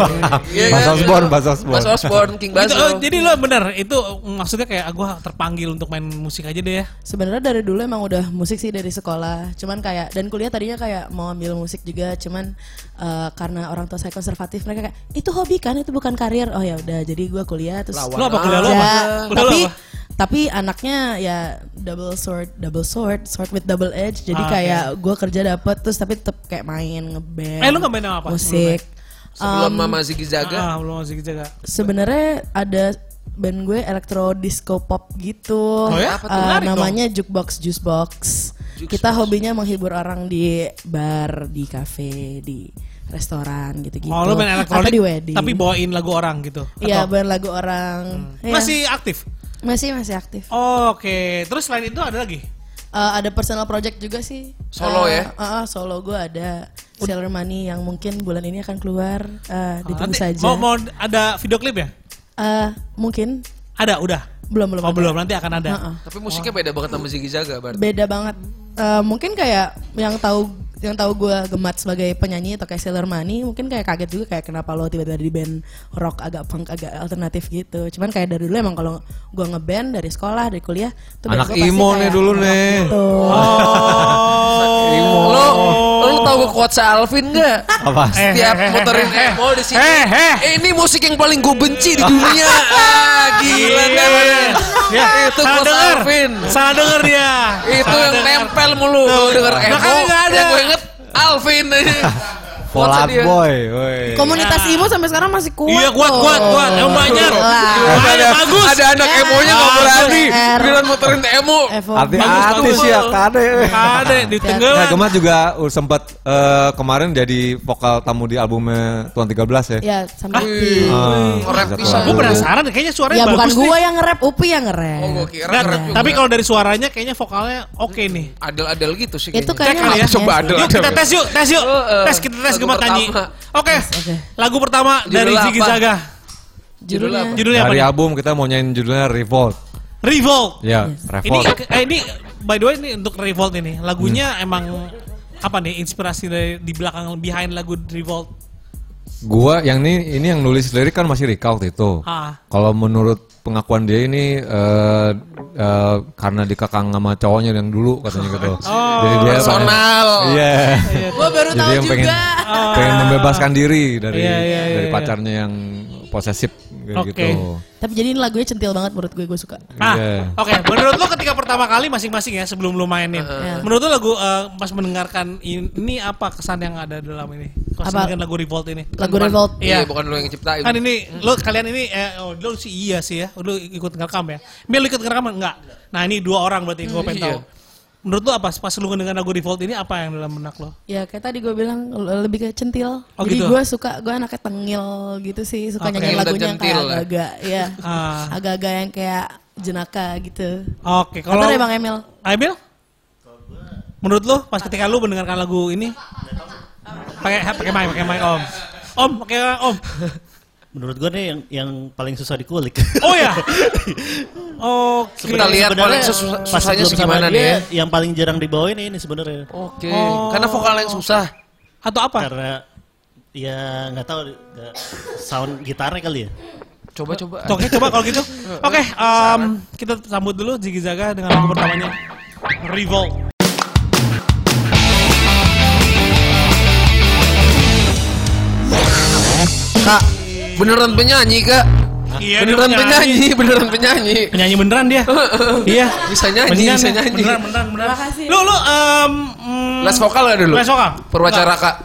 [SPEAKER 2] Iya
[SPEAKER 3] Bas
[SPEAKER 2] kan?
[SPEAKER 3] Osborne, Bas Osborne.
[SPEAKER 2] Bas Osborne, King
[SPEAKER 1] Itu, oh,
[SPEAKER 2] Bazo.
[SPEAKER 1] jadi lo bener itu maksudnya kayak gue terpanggil untuk main musik aja deh ya.
[SPEAKER 6] Sebenarnya dari dulu emang udah musik sih dari sekolah. Cuman kayak dan kuliah tadinya kayak mau ambil musik juga. Cuman eh, karena orang tua saya konservatif mereka kayak itu hobi kan itu bukan karir. Oh ya udah jadi gua kuliah terus
[SPEAKER 2] Lawan.
[SPEAKER 1] Lo apa kuliah lo? apa?
[SPEAKER 6] Ya,
[SPEAKER 1] Kuliah lo
[SPEAKER 6] tapi
[SPEAKER 1] apa?
[SPEAKER 6] tapi anaknya ya double sword, double sword, sword with double edge. Jadi
[SPEAKER 1] Ah, oke.
[SPEAKER 6] kayak gue kerja dapet terus tapi tetap kayak main ngeband.
[SPEAKER 1] Eh, lu ngeband sama apa?
[SPEAKER 6] Musik.
[SPEAKER 2] Sebelum
[SPEAKER 6] Um,
[SPEAKER 2] Mama Ziggy Zaga.
[SPEAKER 1] Ah, belum masih jaga.
[SPEAKER 6] Sebenarnya ada band gue elektro disco pop gitu.
[SPEAKER 1] Oh ya?
[SPEAKER 6] Eh,
[SPEAKER 1] Apa tuh? Menarik dong.
[SPEAKER 6] namanya Jukebox Juicebox. Kita hobinya menghibur orang di bar, di cafe, di restoran gitu-gitu.
[SPEAKER 1] Oh lo main elektronik
[SPEAKER 6] Gitu. Atau di wedding.
[SPEAKER 1] tapi bawain lagu orang gitu.
[SPEAKER 6] Iya,
[SPEAKER 1] Atau- Hmm.
[SPEAKER 6] band lagu orang. Iya.
[SPEAKER 1] Masih aktif.
[SPEAKER 6] masih masih aktif.
[SPEAKER 1] Oh, Oke, terus selain itu ada lagi?
[SPEAKER 6] Eh, ada personal project juga sih.
[SPEAKER 2] Solo
[SPEAKER 6] Eh,
[SPEAKER 2] ya?
[SPEAKER 6] eh, eh, solo gue ada Sailor Money yang mungkin bulan ini akan keluar. Eh, ditunggu
[SPEAKER 1] Ah, Nanti
[SPEAKER 6] saja.
[SPEAKER 1] Mau, mau ada video klip ya?
[SPEAKER 6] Eh, mungkin
[SPEAKER 1] Ada, udah.
[SPEAKER 6] belum belum.
[SPEAKER 1] Oh,
[SPEAKER 6] ada.
[SPEAKER 1] belum, nanti akan ada.
[SPEAKER 6] Eh, eh.
[SPEAKER 2] Tapi musiknya beda banget sama Ziggy Zaga berarti.
[SPEAKER 6] Beda banget. Eh, mungkin kayak yang tahu yang tahu gue gemat sebagai penyanyi atau kayak Sailor Mani mungkin kayak kaget juga kayak kenapa lo tiba-tiba di band rock agak punk agak alternatif gitu cuman kayak dari dulu emang kalau gue ngeband dari sekolah dari kuliah tuh band
[SPEAKER 3] Anak
[SPEAKER 6] gua pasti
[SPEAKER 3] emo
[SPEAKER 6] kayak
[SPEAKER 3] nih dulu
[SPEAKER 6] rock
[SPEAKER 3] nih.
[SPEAKER 6] gitu.
[SPEAKER 1] Oh,
[SPEAKER 2] Lo, lo, lo tau gue quotes Alvin gak?
[SPEAKER 1] Eh,
[SPEAKER 3] Apa?
[SPEAKER 2] Setiap muterin emo di sini. Eh, ini musik yang paling gue benci di
[SPEAKER 1] *laughs*
[SPEAKER 2] dunia. ah, gila kan.
[SPEAKER 1] Ya,
[SPEAKER 2] Itu
[SPEAKER 1] Iya, salah
[SPEAKER 2] quotes
[SPEAKER 1] denger.
[SPEAKER 2] Alvin. Iya.
[SPEAKER 1] Salah denger dia.
[SPEAKER 2] Itu
[SPEAKER 1] Salah
[SPEAKER 2] yang
[SPEAKER 1] denger.
[SPEAKER 2] nempel mulu. Gue denger emo.
[SPEAKER 1] Makanya nggak ada.
[SPEAKER 2] yang Gue inget
[SPEAKER 1] *laughs*
[SPEAKER 2] Alvin. ya.
[SPEAKER 3] Polat
[SPEAKER 2] Quotesnya dia.
[SPEAKER 3] boy, woi.
[SPEAKER 6] komunitas emo sampai sekarang masih kuat
[SPEAKER 1] Iya kuat
[SPEAKER 6] loh.
[SPEAKER 1] kuat kuat. Emang banyak.
[SPEAKER 6] Lah.
[SPEAKER 1] Makanya
[SPEAKER 2] Ada,
[SPEAKER 1] bagus. Iya,
[SPEAKER 2] ada anak
[SPEAKER 6] Ya,
[SPEAKER 2] emonya gak
[SPEAKER 1] bagus.
[SPEAKER 2] berani.
[SPEAKER 6] R.
[SPEAKER 2] Bilang muterin emo.
[SPEAKER 6] Evo.
[SPEAKER 3] Hati-hati
[SPEAKER 1] Bagus,
[SPEAKER 3] sih ya, kade.
[SPEAKER 1] Ada di
[SPEAKER 3] Nah,
[SPEAKER 1] tenggelam.
[SPEAKER 3] Gemat juga sempat eh, kemarin jadi vokal tamu di albumnya Tuan 13 ya.
[SPEAKER 6] ya sampai
[SPEAKER 3] Ah,
[SPEAKER 2] Orang
[SPEAKER 3] satu
[SPEAKER 2] pisah.
[SPEAKER 3] lagu.
[SPEAKER 1] Gue penasaran. Kayaknya suaranya
[SPEAKER 6] eh, ya bukan
[SPEAKER 1] bagus. nih.
[SPEAKER 6] gue yang nge-rap Upi yang nge-rap
[SPEAKER 2] Oh, gue kira
[SPEAKER 1] Nggak,
[SPEAKER 2] keren juga.
[SPEAKER 1] Tapi kalau dari suaranya kayaknya vokalnya oke nih.
[SPEAKER 2] Adel-adel gitu sih
[SPEAKER 6] itu
[SPEAKER 1] kayak- Cek kali ya.
[SPEAKER 2] kayaknya.
[SPEAKER 6] kayaknya haknya
[SPEAKER 2] Coba
[SPEAKER 6] sih.
[SPEAKER 2] adel
[SPEAKER 1] Yuk kita tes yuk, tes yuk.
[SPEAKER 2] Heeh.
[SPEAKER 1] Tes kita tes
[SPEAKER 2] Lagu
[SPEAKER 1] Gemat nyanyi.
[SPEAKER 2] pertama.
[SPEAKER 1] Oke.
[SPEAKER 6] oke.
[SPEAKER 1] Lagu pertama
[SPEAKER 2] Judul
[SPEAKER 1] dari
[SPEAKER 2] apa?
[SPEAKER 1] Ziggy Zaga.
[SPEAKER 2] Judul apa?
[SPEAKER 1] Judulnya apa?
[SPEAKER 3] Dari
[SPEAKER 1] nih?
[SPEAKER 3] album kita mau nyanyiin judulnya Revolt.
[SPEAKER 1] Revolt.
[SPEAKER 3] Ya,
[SPEAKER 1] Ini
[SPEAKER 3] Revolt. Hmm.
[SPEAKER 1] eh, ini by the way ini untuk Revolt ini. Lagunya emang apa nih inspirasi dari di belakang behind lagu Revolt?
[SPEAKER 3] Gua yang ini ini yang nulis lirik kan masih Rika waktu itu.
[SPEAKER 1] Ah.
[SPEAKER 3] Kalau menurut pengakuan dia ini eh, eh, karena dikekang sama cowoknya yang dulu katanya
[SPEAKER 1] *laughs*
[SPEAKER 3] gitu.
[SPEAKER 1] Oh.
[SPEAKER 3] Jadi dia
[SPEAKER 2] Personal.
[SPEAKER 3] Iya.
[SPEAKER 6] gue baru
[SPEAKER 3] Jadi
[SPEAKER 6] tahu
[SPEAKER 3] yang pengen
[SPEAKER 6] juga
[SPEAKER 3] pengen membebaskan diri dari
[SPEAKER 1] Ah. Iya, iya, iya,
[SPEAKER 3] dari
[SPEAKER 1] iya.
[SPEAKER 3] pacarnya yang posesif kayak
[SPEAKER 1] Oke.
[SPEAKER 3] gitu.
[SPEAKER 6] tapi jadi ini lagunya centil banget menurut gue gue suka
[SPEAKER 1] Nah,
[SPEAKER 3] Iya.
[SPEAKER 1] oke. Menurut lo ketika pertama kali masing-masing ya sebelum lo
[SPEAKER 6] Iya.
[SPEAKER 1] mainin,
[SPEAKER 3] Iya.
[SPEAKER 1] menurut lo lagu eh, pas mendengarkan ini apa kesan yang ada dalam ini? Pas
[SPEAKER 6] Apa?
[SPEAKER 1] mendengarkan lagu Revolt ini?
[SPEAKER 6] lagu Revolt
[SPEAKER 2] Iya,
[SPEAKER 1] Iya.
[SPEAKER 2] bukan lu yang ciptain.
[SPEAKER 1] Kan ini lo kalian ini eh oh, lo sih iya sih ya. Lo ikut ngerekam ya. Mil lo ikut ngerekam enggak? Nah, ini dua orang berarti gue pengen
[SPEAKER 2] iya.
[SPEAKER 1] tahu. Menurut lo apa pas lu ngedengar lagu Revolt ini apa yang dalam benak lo?
[SPEAKER 6] ya kayak tadi gue bilang l- lebih ke centil
[SPEAKER 1] Oh,
[SPEAKER 6] jadi
[SPEAKER 1] gitu.
[SPEAKER 6] gue suka gue anaknya tengil gitu sih suka
[SPEAKER 1] Oke.
[SPEAKER 6] nyanyi
[SPEAKER 2] Tengil dan
[SPEAKER 6] lagunya yang kayak
[SPEAKER 2] centil, ya.
[SPEAKER 6] agak-agak ya
[SPEAKER 1] Ah.
[SPEAKER 6] agak-agak yang kayak jenaka gitu
[SPEAKER 1] Oke,
[SPEAKER 6] kalau
[SPEAKER 1] kalau
[SPEAKER 6] dari ya, bang Emil
[SPEAKER 1] Abil? Menurut lo pas ketika lu mendengarkan lagu ini pakai pakai mic, pakai mic Om. Om, pakai Om.
[SPEAKER 5] Menurut gue nih yang yang paling susah dikulik.
[SPEAKER 1] Oh
[SPEAKER 5] *laughs*
[SPEAKER 1] ya. Oke.
[SPEAKER 2] Kita lihat
[SPEAKER 5] Sebenarnya
[SPEAKER 2] paling susah-
[SPEAKER 5] pas
[SPEAKER 2] susahnya
[SPEAKER 5] sebelum
[SPEAKER 2] sih
[SPEAKER 5] sama
[SPEAKER 2] gimana nih ya.
[SPEAKER 5] dia, Yang paling jarang dibawain ini sebenarnya.
[SPEAKER 2] Oke.
[SPEAKER 1] Oh.
[SPEAKER 2] Karena vokal yang susah.
[SPEAKER 1] Atau apa?
[SPEAKER 5] Karena ya nggak tahu nggak- sound gitarnya kali ya.
[SPEAKER 2] Coba-coba.
[SPEAKER 1] Oke, coba kalau gitu. Oke, em, kita sambut dulu Ziggy Zaga dengan lagu pertamanya Revolt.
[SPEAKER 2] Kak, beneran penyanyi, Kak.
[SPEAKER 1] Iya, dia
[SPEAKER 2] beneran penyanyi,
[SPEAKER 1] penyanyi.
[SPEAKER 2] beneran
[SPEAKER 1] *laughs*
[SPEAKER 2] penyanyi.
[SPEAKER 1] Penyanyi beneran dia. iya.
[SPEAKER 2] Bisa nyanyi,
[SPEAKER 1] Penyanyi,
[SPEAKER 2] bisa nyanyi.
[SPEAKER 1] Beneran, beneran, beneran.
[SPEAKER 6] Makasih.
[SPEAKER 1] Lu, lu, em, mm,
[SPEAKER 2] Les vokal gak dulu?
[SPEAKER 1] Les vokal.
[SPEAKER 2] Perwacara, Kak.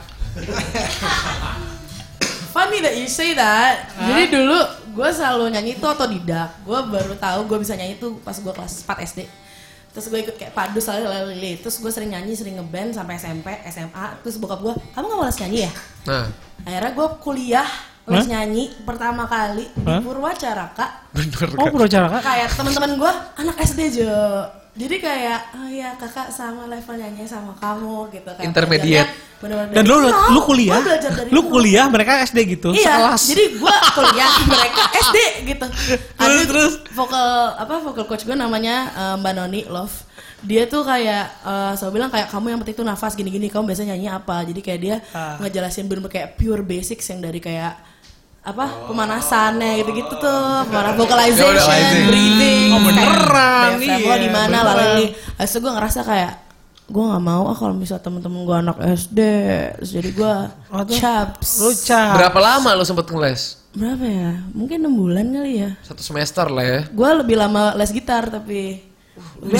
[SPEAKER 6] Funny that you say that. Jadi dulu gue selalu nyanyi itu otodidak. Gue baru tahu gue bisa nyanyi itu pas gue kelas 4 SD. Terus gue ikut kayak padu selalu lele Terus gue sering nyanyi, sering ngeband sampai SMP, SMA. Terus bokap gue, kamu gak mau les nyanyi ya?
[SPEAKER 2] Nah,
[SPEAKER 6] Akhirnya gue kuliah les nyanyi pertama kali di
[SPEAKER 1] Hah?
[SPEAKER 6] Purwacaraka.
[SPEAKER 1] Oh, Purwacaraka.
[SPEAKER 6] Kayak teman-teman gue anak SD Jo. Jadi kayak, oh iya kakak sama level nyanyi sama kamu gitu. Kayak
[SPEAKER 2] Intermediate.
[SPEAKER 6] belajarnya bener-bener
[SPEAKER 1] Dan lu
[SPEAKER 6] dari nol.
[SPEAKER 1] lu
[SPEAKER 6] Iya. Gua
[SPEAKER 1] kuliah,
[SPEAKER 6] belajar dari
[SPEAKER 1] lu
[SPEAKER 6] nol.
[SPEAKER 1] kuliah mereka SD gitu.
[SPEAKER 6] Iya,
[SPEAKER 1] sekelas.
[SPEAKER 6] jadi gue kuliah
[SPEAKER 1] *laughs*
[SPEAKER 6] mereka SD gitu. Ada
[SPEAKER 1] terus.
[SPEAKER 6] terus vokal apa vokal coach gue namanya eh, Mbak Noni Love. Dia tuh kayak eh saya bilang kayak kamu yang penting tuh nafas gini-gini, kamu biasa nyanyi apa. Jadi kayak dia
[SPEAKER 1] Ah.
[SPEAKER 6] ngejelasin bener kayak pure basics yang dari kayak
[SPEAKER 1] Oh.
[SPEAKER 6] apa pemanasannya gitu-gitu tuh, pemanah
[SPEAKER 1] Iya,
[SPEAKER 6] vocalization, breathing,
[SPEAKER 1] Oh, beneran,
[SPEAKER 6] kayak
[SPEAKER 1] iya,
[SPEAKER 6] diafragma di mana
[SPEAKER 1] beneran.
[SPEAKER 6] lalali. Terus gue ngerasa kayak gue nggak mau ah kalau misalnya temen-temen gue anak SD, Terus jadi gue
[SPEAKER 1] Waduh.
[SPEAKER 6] caps.
[SPEAKER 1] lu cah.
[SPEAKER 2] berapa lama lu sempet ngeles?
[SPEAKER 6] Berapa ya? Mungkin 6 bulan kali ya.
[SPEAKER 2] Satu semester lah ya.
[SPEAKER 6] Gua lebih lama les gitar tapi Gua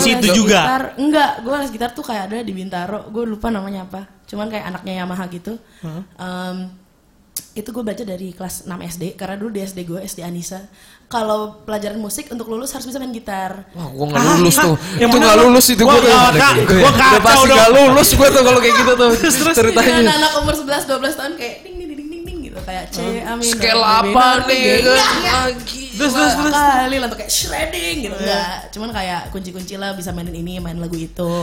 [SPEAKER 1] Di situ
[SPEAKER 6] les
[SPEAKER 1] juga?
[SPEAKER 6] Gitar, enggak, gua les gitar tuh kayak ada di Bintaro. Gue lupa namanya apa. Cuman kayak anaknya Yamaha gitu. Em, itu gue belajar dari kelas 6 SD karena dulu di SD gue SD Anissa kalau pelajaran musik untuk lulus harus bisa main gitar
[SPEAKER 2] Wah, gua gak lulus
[SPEAKER 1] Ah,
[SPEAKER 2] tuh.
[SPEAKER 1] iya. yang
[SPEAKER 2] Yang
[SPEAKER 1] bener
[SPEAKER 2] gak
[SPEAKER 1] lu.
[SPEAKER 2] lulus itu
[SPEAKER 1] Gua
[SPEAKER 2] gua.
[SPEAKER 1] gak-
[SPEAKER 2] udah-
[SPEAKER 1] gak-
[SPEAKER 2] udah-
[SPEAKER 1] gua
[SPEAKER 2] Udah
[SPEAKER 1] kacau
[SPEAKER 2] pasti gak
[SPEAKER 1] dong.
[SPEAKER 2] lulus gua tuh kalau kayak gitu tuh.
[SPEAKER 1] *laughs* terus.
[SPEAKER 6] Jadi
[SPEAKER 2] Ceritanya.
[SPEAKER 6] anak umur 11 12 tahun kayak ding ding ding ding ding gitu kayak C amin.
[SPEAKER 2] Scale
[SPEAKER 6] amin, amin,
[SPEAKER 2] apa
[SPEAKER 6] amin,
[SPEAKER 2] nih?
[SPEAKER 6] amin.
[SPEAKER 2] kan?
[SPEAKER 6] Enggak, enggak.
[SPEAKER 2] Ah, gila.
[SPEAKER 1] Terus terus terus.
[SPEAKER 6] kali lah tuh kayak shredding gitu enggak cuman kayak kunci-kunci lah bisa mainin ini main lagu itu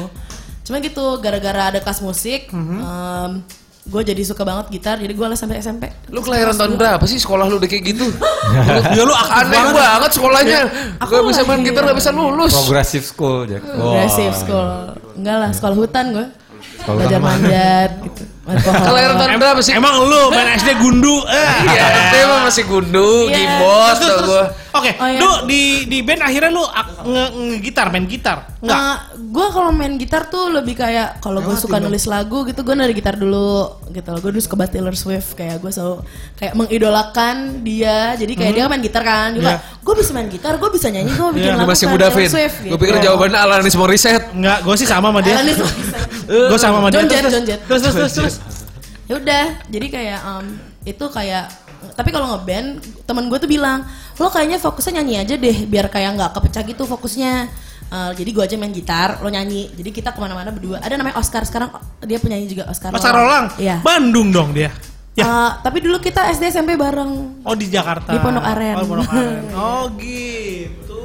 [SPEAKER 6] cuman gitu gara-gara ada kelas musik gue jadi suka banget gitar jadi gue les sampai SMP
[SPEAKER 2] Lu kelahiran tahun berapa sih sekolah lu udah kayak gitu?
[SPEAKER 1] *laughs* Ya lu aktif
[SPEAKER 2] Aneh
[SPEAKER 1] banget. Iya.
[SPEAKER 2] banget sekolahnya.
[SPEAKER 6] aku
[SPEAKER 2] Gak bisa main
[SPEAKER 6] lahir.
[SPEAKER 2] gitar, gak bisa lulus.
[SPEAKER 3] Progressive School, Jack. Wah.
[SPEAKER 6] progressive school enggak lah Iya. sekolah hutan gue
[SPEAKER 3] Kalau
[SPEAKER 6] belajar
[SPEAKER 3] Rahman.
[SPEAKER 6] mandat gitu. Alkohol.
[SPEAKER 2] Kalau Erton
[SPEAKER 1] Em-
[SPEAKER 2] berapa sih?
[SPEAKER 1] Emang lu main SD gundu. Eh.
[SPEAKER 2] Iya, itu emang masih gundu,
[SPEAKER 6] Iya.
[SPEAKER 2] gimbos
[SPEAKER 1] Terus,
[SPEAKER 2] tau
[SPEAKER 1] terus.
[SPEAKER 2] gue.
[SPEAKER 1] Oke,
[SPEAKER 6] Oh, iya.
[SPEAKER 1] lu di di band akhirnya lu ak- nge- nge-gitar, main gitar. Enggak.
[SPEAKER 6] Ah. gue Eh, kalau main gitar tuh lebih kayak kalau gue suka nulis lagu gitu gue nari gitar dulu gitu gue dulu suka banget Taylor Swift kayak gue selalu kayak mengidolakan dia jadi kayak
[SPEAKER 2] Hmm.
[SPEAKER 6] dia main gitar kan juga gue bisa main gitar gue bisa nyanyi gue
[SPEAKER 1] Iya,
[SPEAKER 6] bikin
[SPEAKER 2] Iya.
[SPEAKER 6] lagu
[SPEAKER 2] Masih
[SPEAKER 6] kayak
[SPEAKER 2] muda,
[SPEAKER 6] Taylor
[SPEAKER 2] Vin.
[SPEAKER 6] Swift
[SPEAKER 1] ya?
[SPEAKER 6] gitu.
[SPEAKER 2] Gue pikir jawabannya Alanis Morissette.
[SPEAKER 1] Enggak, gue sih sama sama dia.
[SPEAKER 6] Alanis
[SPEAKER 1] *laughs* Gue sama sama dia.
[SPEAKER 6] John Jett,
[SPEAKER 1] Terus,
[SPEAKER 6] John Jett.
[SPEAKER 1] Terus terus terus terus.
[SPEAKER 6] ya udah jadi kayak em, itu kayak tapi kalau ngeband teman gue tuh bilang lo kayaknya fokusnya nyanyi aja deh biar kayak nggak kepecah gitu fokusnya Eh, jadi gue aja main gitar lo nyanyi jadi kita kemana-mana berdua ada namanya Oscar sekarang dia penyanyi juga Oscar
[SPEAKER 1] Pasar Rolang.
[SPEAKER 6] iya
[SPEAKER 1] Bandung dong dia. Ya.
[SPEAKER 6] Eh, tapi dulu kita SD SMP bareng
[SPEAKER 1] Oh di Jakarta.
[SPEAKER 6] Di Pondok Aren.
[SPEAKER 1] Oh, di Pondok Aren.
[SPEAKER 6] *laughs*
[SPEAKER 1] Oh gitu.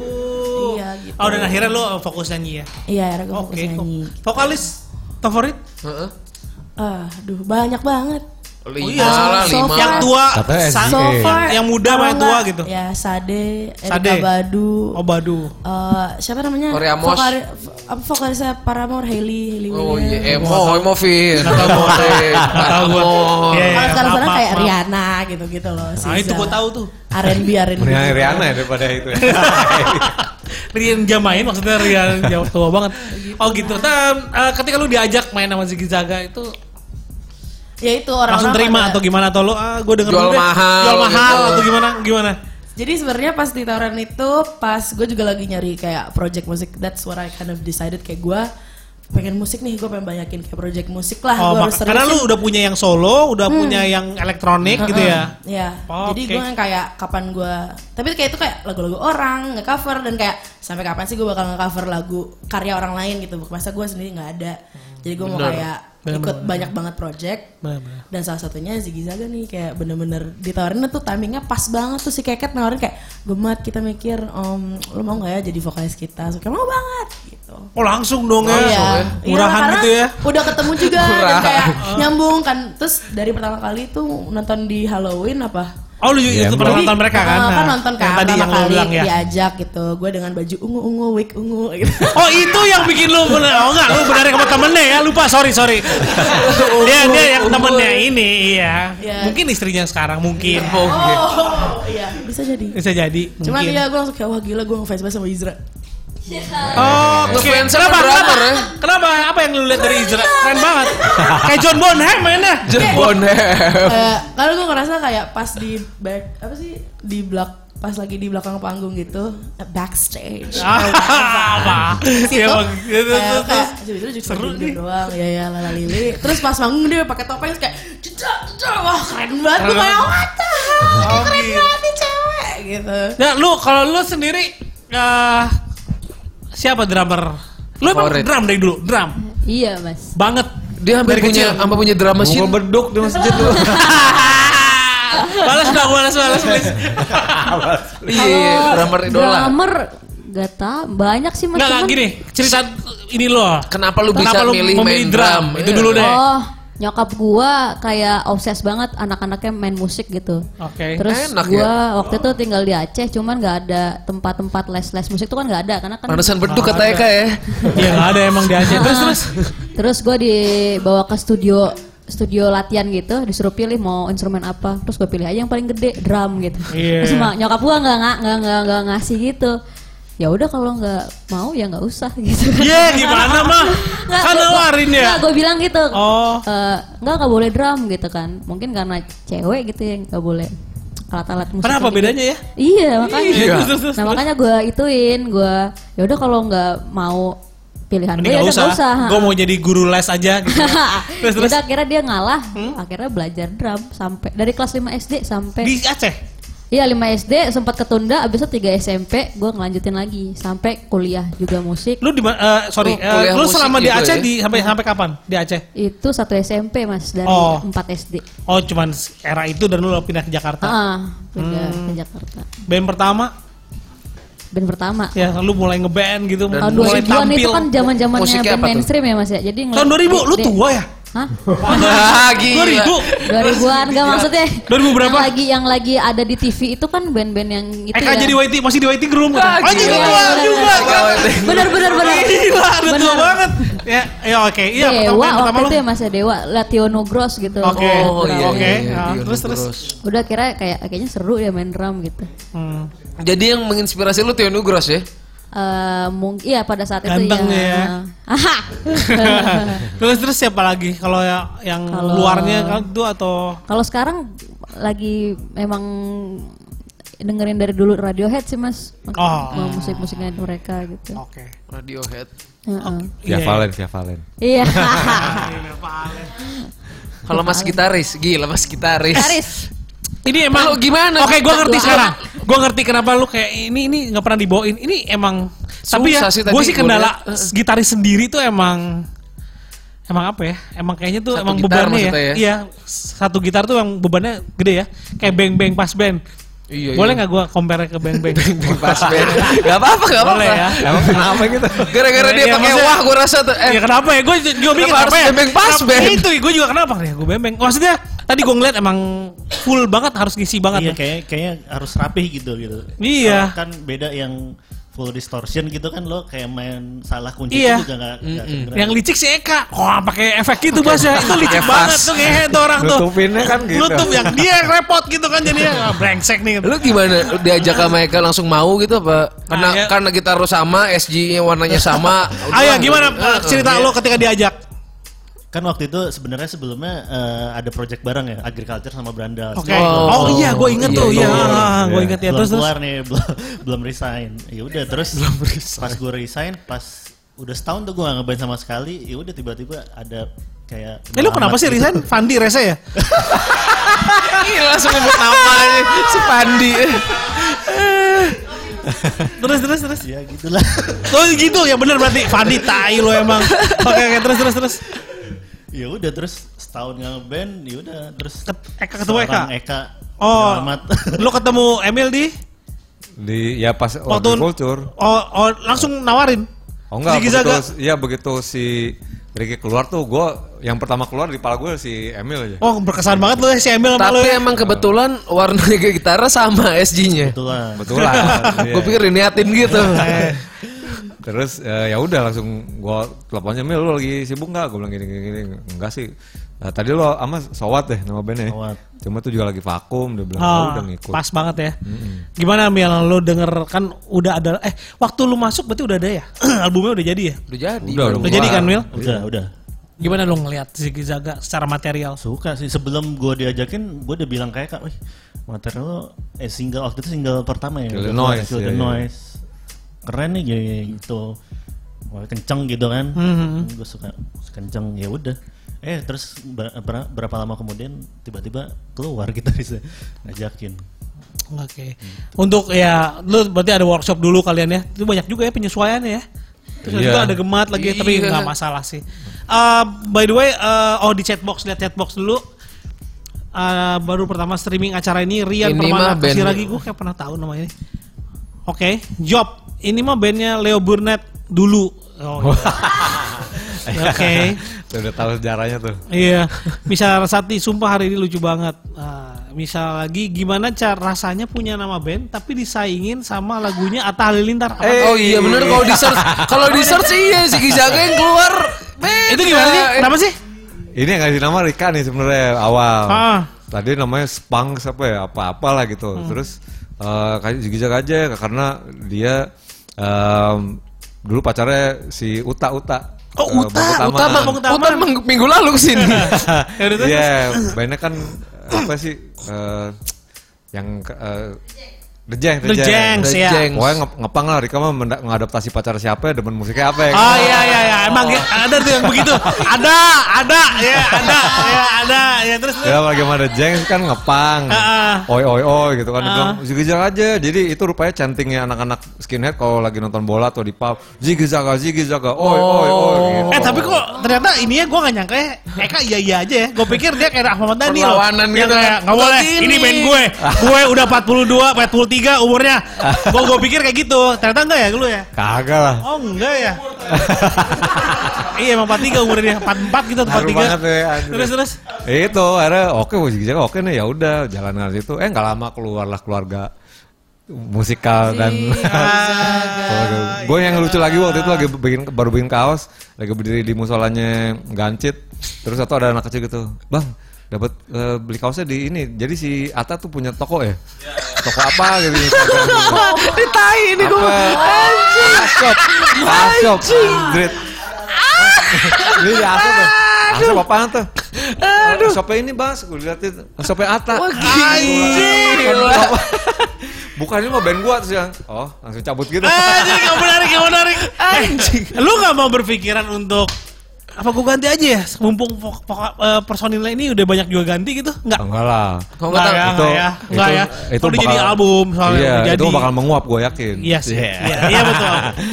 [SPEAKER 6] Iya, gitu.
[SPEAKER 1] Oh dan akhirnya lu fokus nyanyi ya.
[SPEAKER 6] iya akhirnya gue fokus
[SPEAKER 1] Oke.
[SPEAKER 6] nyanyi
[SPEAKER 1] Vokalis favorit?
[SPEAKER 2] Heeh.
[SPEAKER 6] Ah, aduh banyak banget
[SPEAKER 2] Lima
[SPEAKER 1] Oh,
[SPEAKER 2] lah, Iya,
[SPEAKER 6] so
[SPEAKER 2] lima.
[SPEAKER 6] far.
[SPEAKER 1] Yang tua,
[SPEAKER 3] Katanya
[SPEAKER 1] sa-
[SPEAKER 3] SDA.
[SPEAKER 6] so far
[SPEAKER 1] yang muda sama
[SPEAKER 6] kalau
[SPEAKER 1] yang tua
[SPEAKER 6] nggak,
[SPEAKER 1] gitu.
[SPEAKER 6] ya Sade
[SPEAKER 1] Sade.
[SPEAKER 6] Erika Badu
[SPEAKER 1] Oh Badu.
[SPEAKER 6] Eh, siapa namanya?
[SPEAKER 2] Ori Amos.
[SPEAKER 6] Vokali- v- apa, vokalisnya Paramore Hailey Hailey
[SPEAKER 2] Oh
[SPEAKER 6] Williams.
[SPEAKER 2] iya, emo, emo Vin. Emo, Vin.
[SPEAKER 1] Gak tau gue. Iya, iya,
[SPEAKER 2] Emo.
[SPEAKER 6] Kalau sekarang
[SPEAKER 1] maaf,
[SPEAKER 6] sekarang
[SPEAKER 1] maaf,
[SPEAKER 6] kayak
[SPEAKER 1] maaf.
[SPEAKER 6] Rihanna gitu-gitu loh.
[SPEAKER 1] Nah itu gue tahu tuh.
[SPEAKER 6] R&B R&B.
[SPEAKER 3] Mendingan
[SPEAKER 6] gitu.
[SPEAKER 3] Rihanna ya daripada itu ya.
[SPEAKER 1] Rian Jamain maksudnya
[SPEAKER 6] *laughs*
[SPEAKER 1] Rian jauh tua banget. Oh gitu. Nah, eh, ketika lu diajak main sama Ziggy Zaga itu
[SPEAKER 6] Ya itu orang-orang
[SPEAKER 1] langsung terima
[SPEAKER 6] pada-
[SPEAKER 1] atau gimana atau lu ah gue denger
[SPEAKER 2] Jual
[SPEAKER 1] dulu deh.
[SPEAKER 2] mahal
[SPEAKER 1] jual mahal
[SPEAKER 2] gitu.
[SPEAKER 1] atau gimana gimana?
[SPEAKER 6] Jadi sebenarnya pas ditawaran itu, pas gue juga lagi nyari kayak project musik, that's what I kind of decided kayak gue pengen musik nih, gue pengen banyakin kayak project musik lah,
[SPEAKER 1] Oh,
[SPEAKER 6] gue
[SPEAKER 1] mak- karena lu udah punya yang solo,
[SPEAKER 6] Hmm.
[SPEAKER 1] udah punya yang elektronik gitu ya.
[SPEAKER 6] Ya,
[SPEAKER 1] Oh,
[SPEAKER 6] jadi
[SPEAKER 1] oke.
[SPEAKER 6] gue yang kayak kapan gue, tapi kayak itu kayak lagu-lagu orang nggak cover dan kayak sampai kapan sih gue bakal nggak cover lagu karya orang lain gitu, masa gue sendiri nggak ada. Jadi gue mau kayak ikut banyak banget project
[SPEAKER 1] Benar-benar.
[SPEAKER 6] dan salah satunya Ziggy Zaga nih kayak bener-bener ditawarin tuh timingnya pas banget tuh si Keket nawarin kayak gemat kita mikir om lu mau nggak ya jadi vokalis kita suka mau banget gitu
[SPEAKER 1] Oh langsung dong ya.
[SPEAKER 6] Iya.
[SPEAKER 1] Murahan
[SPEAKER 6] Iya, karena
[SPEAKER 1] gitu ya.
[SPEAKER 6] Udah ketemu juga dan
[SPEAKER 2] Murahan.
[SPEAKER 6] kayak nyambung kan. Terus dari pertama kali tuh nonton di Halloween apa?
[SPEAKER 1] Oh lu
[SPEAKER 2] Iya,
[SPEAKER 1] itu pernah
[SPEAKER 6] Jadi,
[SPEAKER 1] nonton mereka kan?
[SPEAKER 6] eh,
[SPEAKER 1] Nah,
[SPEAKER 6] nonton kan
[SPEAKER 1] yang tadi
[SPEAKER 6] pertama
[SPEAKER 1] yang lu
[SPEAKER 6] kali
[SPEAKER 1] bilang ya.
[SPEAKER 6] diajak gitu. Gue dengan baju ungu-ungu, wig ungu *laughs* gitu.
[SPEAKER 1] Oh itu yang bikin lu bener. Oh enggak, lu benerin sama temennya ya. Lupa, sorry, sorry. dia dia yang temennya ini, iya.
[SPEAKER 6] Iya.
[SPEAKER 1] Mungkin istrinya sekarang, mungkin.
[SPEAKER 2] Iya.
[SPEAKER 6] oh, iya, bisa jadi.
[SPEAKER 1] Bisa jadi.
[SPEAKER 6] Cuman
[SPEAKER 1] mungkin.
[SPEAKER 6] iya gue langsung kayak wah gila gue ngefans banget sama
[SPEAKER 1] *laughs*
[SPEAKER 6] Izra.
[SPEAKER 1] Oh, oke.
[SPEAKER 2] Ngefans
[SPEAKER 1] Kenapa,
[SPEAKER 2] sama
[SPEAKER 1] kenapa?
[SPEAKER 2] drummer ya.
[SPEAKER 1] Kenapa? Apa yang lu lihat dari Izra? Keren banget. Kayak John Bonham ya
[SPEAKER 2] *laughs*
[SPEAKER 1] mainnya.
[SPEAKER 2] Jebon.
[SPEAKER 6] Eh, Karena gue ngerasa kayak pas di back apa sih di belak pas lagi di belakang panggung gitu eh,
[SPEAKER 1] *laughs*
[SPEAKER 6] backstage.
[SPEAKER 1] Ah, Apa?
[SPEAKER 6] Situ,
[SPEAKER 1] Iya, bang. Gitu,
[SPEAKER 6] kayak-
[SPEAKER 1] terus,
[SPEAKER 6] kayak
[SPEAKER 1] terus.
[SPEAKER 6] sebenernya juga
[SPEAKER 1] Seru
[SPEAKER 6] seru
[SPEAKER 1] nih.
[SPEAKER 6] doang ya ya lala lili terus pas bangun dia pakai topeng terus kayak jeda jeda wah keren banget gue kayak what the hell
[SPEAKER 1] Oh,
[SPEAKER 6] keren
[SPEAKER 1] gitu.
[SPEAKER 6] banget nih cewek gitu
[SPEAKER 1] Nah, lu kalau lu sendiri eh siapa drummer? Lu emang
[SPEAKER 2] Favorit.
[SPEAKER 1] drum dari dulu, drum.
[SPEAKER 4] Iya mas.
[SPEAKER 1] Banget.
[SPEAKER 2] Dia hampir
[SPEAKER 1] Dari
[SPEAKER 2] punya,
[SPEAKER 1] kecil.
[SPEAKER 2] hampir punya drama sih.
[SPEAKER 3] Mukul beduk di masjid
[SPEAKER 1] *laughs*
[SPEAKER 3] lu.
[SPEAKER 1] Iya, balas dong, balas balas please.
[SPEAKER 2] Iya, drummer idola.
[SPEAKER 4] Drummer gak tau banyak sih mas.
[SPEAKER 1] Enggak, enggak
[SPEAKER 4] cuman-
[SPEAKER 1] gini, cerita ini lo.
[SPEAKER 2] Kenapa lu bisa milih main drum?
[SPEAKER 1] Itu
[SPEAKER 2] Iya.
[SPEAKER 1] dulu deh.
[SPEAKER 4] Oh nyokap gua kayak obses banget anak-anaknya main musik gitu.
[SPEAKER 1] Oke.
[SPEAKER 4] Terus
[SPEAKER 2] Enak
[SPEAKER 4] gua
[SPEAKER 1] ya?
[SPEAKER 4] waktu itu tinggal di Aceh, cuman nggak ada tempat-tempat les-les musik tuh kan nggak ada karena kan.
[SPEAKER 2] Pantesan berduk kata Eka ya.
[SPEAKER 1] Iya, enggak ada emang di Aceh. Terus
[SPEAKER 4] *laughs*
[SPEAKER 1] terus.
[SPEAKER 4] Terus gua dibawa ke studio studio latihan gitu, disuruh pilih mau instrumen apa, terus gue pilih aja yang paling gede drum gitu.
[SPEAKER 1] Iya.
[SPEAKER 4] Terus mak nyokap gua nggak nggak nggak nggak- nggak ngasih gitu. Ya udah kalau nggak mau ya nggak usah gitu.
[SPEAKER 1] Iya, gimana
[SPEAKER 4] *laughs*
[SPEAKER 1] mah? Kan nawarin ya.
[SPEAKER 4] gue bilang gitu.
[SPEAKER 1] Oh.
[SPEAKER 4] Eh, nggak nggak boleh drum gitu kan. Mungkin karena cewek gitu ya nggak boleh alat-alat musik.
[SPEAKER 1] Kenapa
[SPEAKER 4] gitu.
[SPEAKER 1] bedanya ya?
[SPEAKER 4] Iya makanya.
[SPEAKER 1] Iya, *laughs* terus, terus,
[SPEAKER 4] Nah makanya gue ituin gue. Ya udah kalau nggak mau pilihan gue
[SPEAKER 1] Mending
[SPEAKER 4] ya
[SPEAKER 1] gak
[SPEAKER 4] udah
[SPEAKER 1] usah.
[SPEAKER 4] nggak usah.
[SPEAKER 1] Gue
[SPEAKER 4] *laughs*
[SPEAKER 1] mau jadi guru les aja gitu. terus terus. Hmm?
[SPEAKER 4] Yaudah, akhirnya dia ngalah. Akhirnya belajar drum sampai dari kelas 5 SD sampai
[SPEAKER 1] Di Aceh.
[SPEAKER 4] Iya 5 SD sempat ketunda abis itu 3 SMP gue ngelanjutin lagi sampai kuliah juga musik.
[SPEAKER 1] Lu di ma- eh, sorry,
[SPEAKER 2] Oh,
[SPEAKER 1] eh,
[SPEAKER 2] kuliah
[SPEAKER 1] lu
[SPEAKER 2] musik
[SPEAKER 1] selama di
[SPEAKER 2] gitu
[SPEAKER 1] Aceh
[SPEAKER 2] ya.
[SPEAKER 1] di sampai sampai kapan? Di Aceh.
[SPEAKER 4] Itu satu SMP mas dari
[SPEAKER 1] Oh.
[SPEAKER 4] 4 SD.
[SPEAKER 1] Oh, cuman era itu dan lu pindah ke Jakarta.
[SPEAKER 4] Ah, pindah
[SPEAKER 1] Hmm.
[SPEAKER 4] ke Jakarta.
[SPEAKER 1] Band pertama
[SPEAKER 4] Band pertama.
[SPEAKER 1] ya lu mulai ngeband gitu,
[SPEAKER 4] Tahun
[SPEAKER 1] mulai
[SPEAKER 4] 2000-an itu kan zaman-zamannya
[SPEAKER 2] Musiknya
[SPEAKER 4] band
[SPEAKER 2] apa tuh?
[SPEAKER 4] mainstream ya Mas ya. Jadi
[SPEAKER 1] Tahun 2000 lu
[SPEAKER 4] di-
[SPEAKER 1] tua ya?
[SPEAKER 4] Hah?
[SPEAKER 2] *laughs* *laughs* Ah,
[SPEAKER 1] Dua
[SPEAKER 2] gila.
[SPEAKER 1] ribu.
[SPEAKER 4] 2000-an
[SPEAKER 1] *laughs*
[SPEAKER 4] enggak maksudnya.
[SPEAKER 1] 2000 Iya. berapa?
[SPEAKER 4] Yang lagi yang lagi ada di TV itu kan band-band yang itu
[SPEAKER 1] Eka
[SPEAKER 4] ya.
[SPEAKER 1] Eh, jadi waiting, masih di waiting room.
[SPEAKER 2] Ah,
[SPEAKER 1] kan? Anjing
[SPEAKER 4] gila.
[SPEAKER 1] tua juga.
[SPEAKER 2] Oh, iya,
[SPEAKER 4] Bener bener
[SPEAKER 1] *laughs*
[SPEAKER 4] bener.
[SPEAKER 1] Gila, udah tua
[SPEAKER 4] Bener.
[SPEAKER 1] banget. Ya, ya oke. Iya,
[SPEAKER 4] Dewa
[SPEAKER 1] yang
[SPEAKER 4] waktu
[SPEAKER 1] lu.
[SPEAKER 4] itu ya Mas ya Dewa, Lationo Gross gitu.
[SPEAKER 1] Oke.
[SPEAKER 2] Oh iya,
[SPEAKER 1] Oke,
[SPEAKER 2] iya, iya,
[SPEAKER 1] ah,
[SPEAKER 2] Dion
[SPEAKER 1] terus, terus.
[SPEAKER 2] Nugros.
[SPEAKER 4] Udah kira kayak kayaknya seru ya main drum gitu.
[SPEAKER 1] Hmm. *laughs*
[SPEAKER 2] Jadi yang menginspirasi lu Tio Nugros ya?
[SPEAKER 4] Eh mungkin iya pada saat
[SPEAKER 1] Ganteng
[SPEAKER 4] itu
[SPEAKER 1] ya.
[SPEAKER 4] Aha.
[SPEAKER 1] *laughs* terus terus siapa lagi kalau ya- yang
[SPEAKER 4] Kalau-
[SPEAKER 1] luarnya kan itu atau
[SPEAKER 4] Kalau sekarang lagi memang dengerin dari dulu Radiohead sih Mas.
[SPEAKER 1] Oh.
[SPEAKER 4] Mau Musik-musiknya mereka gitu.
[SPEAKER 1] oke.
[SPEAKER 2] Radiohead.
[SPEAKER 4] Heeh.
[SPEAKER 3] Via
[SPEAKER 1] Iya.
[SPEAKER 3] Valen, Via Valen.
[SPEAKER 1] *laughs*
[SPEAKER 4] Iya. *laughs*
[SPEAKER 2] Kalau Mas Gitaris, gila Mas Gitaris.
[SPEAKER 4] Taris.
[SPEAKER 1] Ini emang
[SPEAKER 2] Tahu gimana?
[SPEAKER 1] Oke, gua ngerti
[SPEAKER 4] Gua-
[SPEAKER 1] sekarang. Gua ngerti kenapa lu kayak ini ini nggak pernah dibawain. Ini emang tapi ya
[SPEAKER 2] Susah sih tadi
[SPEAKER 1] gua sih
[SPEAKER 2] gua
[SPEAKER 1] kendala
[SPEAKER 2] liat.
[SPEAKER 1] gitaris sendiri tuh emang emang apa ya? Emang kayaknya tuh
[SPEAKER 2] Satu
[SPEAKER 1] emang
[SPEAKER 2] gitar
[SPEAKER 1] bebannya ya.
[SPEAKER 2] maksudnya ya?
[SPEAKER 1] Iya, satu gitar tuh emang bebannya gede ya. Kayak beng beng pas band.
[SPEAKER 2] Iya,
[SPEAKER 1] Boleh
[SPEAKER 2] iya.
[SPEAKER 1] nggak gua compare ke beng
[SPEAKER 2] *laughs*
[SPEAKER 1] beng? *laughs*
[SPEAKER 2] Pas Ben. Gak apa-apa, gak apa-apa.
[SPEAKER 1] Boleh ya.
[SPEAKER 3] Emang kenapa gitu?
[SPEAKER 2] Gara-gara dia
[SPEAKER 1] Iya,
[SPEAKER 2] pakai
[SPEAKER 1] maksudnya-
[SPEAKER 2] wah gue rasa tuh. Eh,
[SPEAKER 1] ya kenapa ya? Gue juga mikir
[SPEAKER 2] harus
[SPEAKER 1] kenapa ya?
[SPEAKER 2] bembeng pas
[SPEAKER 1] Kenapa-
[SPEAKER 2] band?
[SPEAKER 1] Itu gue juga kenapa ya? Gue bembeng. Maksudnya tadi gue ngeliat emang full banget harus ngisi
[SPEAKER 5] Iya
[SPEAKER 1] banget. ya.
[SPEAKER 5] kayaknya kayaknya harus rapih gitu gitu.
[SPEAKER 1] Iya.
[SPEAKER 5] Kalau Kan beda yang full distortion gitu kan lo kayak main salah kunci
[SPEAKER 1] Iya.
[SPEAKER 5] itu juga nggak nggak kedengeran.
[SPEAKER 1] Yang licik si Eka. Wah, pakai efek gitu Bas ya. Itu licik banget tuh ngehe tuh orang tuh.
[SPEAKER 3] Nutupinnya kan gitu.
[SPEAKER 1] Nutup yang dia yang repot gitu kan jadinya ah, brengsek nih.
[SPEAKER 2] Lu gimana? Lu Diajak sama Eka langsung mau gitu apa? Karena
[SPEAKER 1] Nah, ya.
[SPEAKER 2] karena gitar lu sama, SG-nya warnanya
[SPEAKER 1] *laughs*
[SPEAKER 2] sama.
[SPEAKER 1] Ayo
[SPEAKER 2] Udah,
[SPEAKER 1] gimana
[SPEAKER 2] gitu.
[SPEAKER 1] eh, cerita
[SPEAKER 2] Iya.
[SPEAKER 1] lo ketika diajak?
[SPEAKER 5] Kan waktu itu sebenarnya sebelumnya eh, ada project bareng ya agriculture sama Brandal.
[SPEAKER 1] Oke.
[SPEAKER 2] Oh.
[SPEAKER 1] Oh, iya, gue inget
[SPEAKER 2] Iya,
[SPEAKER 1] tuh.
[SPEAKER 2] iya,
[SPEAKER 1] Iya,
[SPEAKER 2] iya.
[SPEAKER 1] ah, gue inget ya.
[SPEAKER 5] belum
[SPEAKER 1] Terus terus.
[SPEAKER 5] keluar nih *laughs* belum belum resign ya udah terus pas gue resign pas udah setahun tuh gue gak ngeband sama sekali ya udah tiba-tiba ada kayak
[SPEAKER 1] Eh lu kenapa sih
[SPEAKER 5] Muhammad gitu.
[SPEAKER 1] resign? Fandi rese ya?
[SPEAKER 2] *laughs* Gila langsung nyebut namanya si Pandi.
[SPEAKER 1] *laughs* Terus terus terus.
[SPEAKER 5] ya gitulah *laughs*
[SPEAKER 1] Oh gitu ya bener berarti Fandi tai lo emang. Oke oke terus terus terus.
[SPEAKER 5] ya udah terus setahun gak ngeband ya udah terus
[SPEAKER 1] Ket- Eka ketemu Eka?
[SPEAKER 5] seorang Eka
[SPEAKER 1] Oh,
[SPEAKER 5] selamat *laughs*
[SPEAKER 1] lu ketemu Emil di
[SPEAKER 3] Di ya pas
[SPEAKER 1] waktu
[SPEAKER 3] waktu culture.
[SPEAKER 1] Oh, oh, langsung nawarin.
[SPEAKER 3] Oh enggak, begitu,
[SPEAKER 1] Zigzaga.
[SPEAKER 3] ya begitu si Ricky keluar tuh gue yang pertama keluar di kepala gue si Emil aja.
[SPEAKER 1] Oh, berkesan banget lu ya si Emil sama lu.
[SPEAKER 2] Tapi
[SPEAKER 1] ya.
[SPEAKER 2] emang kebetulan warnanya gitarnya sama SG-nya.
[SPEAKER 5] kebetulan
[SPEAKER 3] Betul
[SPEAKER 1] *laughs*
[SPEAKER 3] lah. Iya.
[SPEAKER 2] Gue pikir diniatin gitu.
[SPEAKER 1] Eh.
[SPEAKER 3] Terus eh, ya udah langsung gue teleponnya Emil lu lagi sibuk nggak? Gue bilang gini gini gini enggak sih. "Nah, tadi lo ama Sowat deh nama bandnya.
[SPEAKER 5] Sowat.
[SPEAKER 3] Cuma tuh juga lagi vakum dia bilang "Oh,
[SPEAKER 1] Ah,
[SPEAKER 3] udah ngikut.
[SPEAKER 1] pas banget ya. Gimana Mil, lu denger kan udah ada eh waktu lu masuk berarti udah ada ya? *clears throat* Albumnya udah jadi ya?
[SPEAKER 2] Udah jadi.
[SPEAKER 3] Udah,
[SPEAKER 2] baru
[SPEAKER 3] udah.
[SPEAKER 1] Udah jadi kan Mil?
[SPEAKER 5] udah
[SPEAKER 3] Iya.
[SPEAKER 5] udah
[SPEAKER 1] Gimana lu ngelihat Ziggy Zaga secara material?
[SPEAKER 5] suka sih sebelum gue diajakin gue udah bilang kayak kak wih materi lo eh single waktu itu single pertama ya
[SPEAKER 3] Kill the
[SPEAKER 5] Udah keluar,
[SPEAKER 3] Noise,
[SPEAKER 5] Kill the
[SPEAKER 3] iya, iya.
[SPEAKER 5] Noise. keren nih gini, gitu Wah, kenceng gitu kan
[SPEAKER 1] Mm-hmm.
[SPEAKER 5] gue suka suka kenceng ya udah eh terus ber- ber- berapa lama kemudian tiba-tiba keluar kita *laughs* bisa ngajakin
[SPEAKER 1] Oke. Untuk ya lu berarti ada workshop dulu kalian ya. Itu banyak juga ya penyesuaiannya ya. Terus
[SPEAKER 3] Iya.
[SPEAKER 1] itu ada gemat lagi tapi
[SPEAKER 2] Iya.
[SPEAKER 1] nggak masalah sih. Eh, by the way, eh, oh di chatbox lihat chatbox dulu. Eh, baru pertama streaming acara ini Rian
[SPEAKER 2] Ini
[SPEAKER 1] Permana
[SPEAKER 2] mah band-
[SPEAKER 1] kasih lagi gue kayak pernah tahu nama ini. Oke, Job. Ini mah bandnya Leo Burnett dulu. Oh, iya.
[SPEAKER 2] *laughs*
[SPEAKER 1] Oke.
[SPEAKER 3] Tuh, udah tahu sejarahnya tuh.
[SPEAKER 1] Iya, misal Rasati, sumpah hari ini lucu banget. Ah, misal lagi gimana cara rasanya punya nama band tapi disaingin sama lagunya Atta Halilintar. Apa-
[SPEAKER 2] Oh iya bener kalau di
[SPEAKER 1] *laughs*
[SPEAKER 2] search kalau di search iya si Gizaga yang keluar. beda. Eh,
[SPEAKER 1] Itu gimana sih? Kenapa sih?
[SPEAKER 3] Ini yang ngasih nama Rika nih sebenarnya awal. *laughs*
[SPEAKER 1] Ah.
[SPEAKER 3] Tadi namanya Spang apa ya apa-apalah gitu.
[SPEAKER 1] Hmm.
[SPEAKER 3] Terus eh kayak jigijak aja karena dia em, dulu pacarnya si Uta Uta.
[SPEAKER 1] Oh,
[SPEAKER 3] Eh,
[SPEAKER 1] Uta,
[SPEAKER 3] Bang
[SPEAKER 1] Uta,
[SPEAKER 3] Utama.
[SPEAKER 1] Bang Utama.
[SPEAKER 2] Utan ming- minggu lalu
[SPEAKER 1] *laughs*
[SPEAKER 2] kesini.
[SPEAKER 1] Ya udah, terus.
[SPEAKER 3] Iya, bandnya kan apa sih eh, yang ke- eh, The Jeng,
[SPEAKER 1] The Jengs ya.
[SPEAKER 2] Jengs.
[SPEAKER 3] Pokoknya nge- ngepang lah Rika mah menda- mengadaptasi pacar siapa demen musiknya apa ya.
[SPEAKER 1] Oh iya iya iya, emang ya, ada tuh yang begitu. Ada, ada, ya ada, ya ada, ya terus. terus.
[SPEAKER 3] Ya bagaimana Jengs kan ngepang.
[SPEAKER 1] Heeh.
[SPEAKER 3] Oi oi oi
[SPEAKER 1] Ah.
[SPEAKER 3] gitu kan dibilang zigzag aja. Jadi itu rupanya chantingnya anak-anak skinhead kalau lagi nonton bola atau di pub. Zigzag zigzag. Oi oi oi. gitu.
[SPEAKER 1] Eh tapi kok ternyata ini ya gue gak nyangka ya Eka iya iya aja ya Gue pikir dia kayak Ahmad Daniel
[SPEAKER 2] Perlawanan
[SPEAKER 1] Yang
[SPEAKER 2] gitu.
[SPEAKER 1] kayak, Gak boleh
[SPEAKER 2] Begini.
[SPEAKER 1] ini band gue Gue udah 42, 43 umurnya Gue gue pikir kayak gitu Ternyata enggak ya lu ya
[SPEAKER 3] kagak lah.
[SPEAKER 1] Oh enggak ya. Iya emang 43 umurnya dia. 44 gitu
[SPEAKER 3] Haru
[SPEAKER 1] 43.
[SPEAKER 3] banget ya, anjir.
[SPEAKER 1] Terus terus.
[SPEAKER 3] itu akhirnya oke musik Jakarta oke nih ya udah jalan dari situ eh nggak lama keluarlah keluarga musikal dan *laughs* gue yang lucu lagi waktu itu lagi bikin baru bikin kaos lagi berdiri di musolanya gancit terus satu ada anak kecil gitu bang dapat eh, beli kaosnya di ini jadi si Ata tuh punya toko ya toko apa gitu
[SPEAKER 2] Ditai ini gue.
[SPEAKER 3] Asop, asop, Andrit. Ini di asop ya. Asop apaan tuh? Aduh. Sopnya ini bas, gue liatin. Sopnya Ata. Wah gila. Bukan ini mah band gua terus yang, oh langsung cabut gitu.
[SPEAKER 1] Anjir gak menarik, gak menarik. Anjing. Lu gak mau berpikiran untuk apa gue ganti aja ya? Mumpung pok- pok- eh, personilnya ini udah banyak juga ganti gitu? Enggak.
[SPEAKER 3] Oh, Enggak lah.
[SPEAKER 2] Kalau nggak
[SPEAKER 1] Enggak ya,
[SPEAKER 3] Itu-
[SPEAKER 1] enggak ya. Enggak
[SPEAKER 3] itu-
[SPEAKER 1] ya.
[SPEAKER 3] Itu
[SPEAKER 1] Itu udah jadi
[SPEAKER 3] bakal-
[SPEAKER 1] album soalnya.
[SPEAKER 3] Iya,
[SPEAKER 1] udah jadi.
[SPEAKER 3] itu bakal menguap gue yakin.
[SPEAKER 1] Iya sih. Iya, iya betul.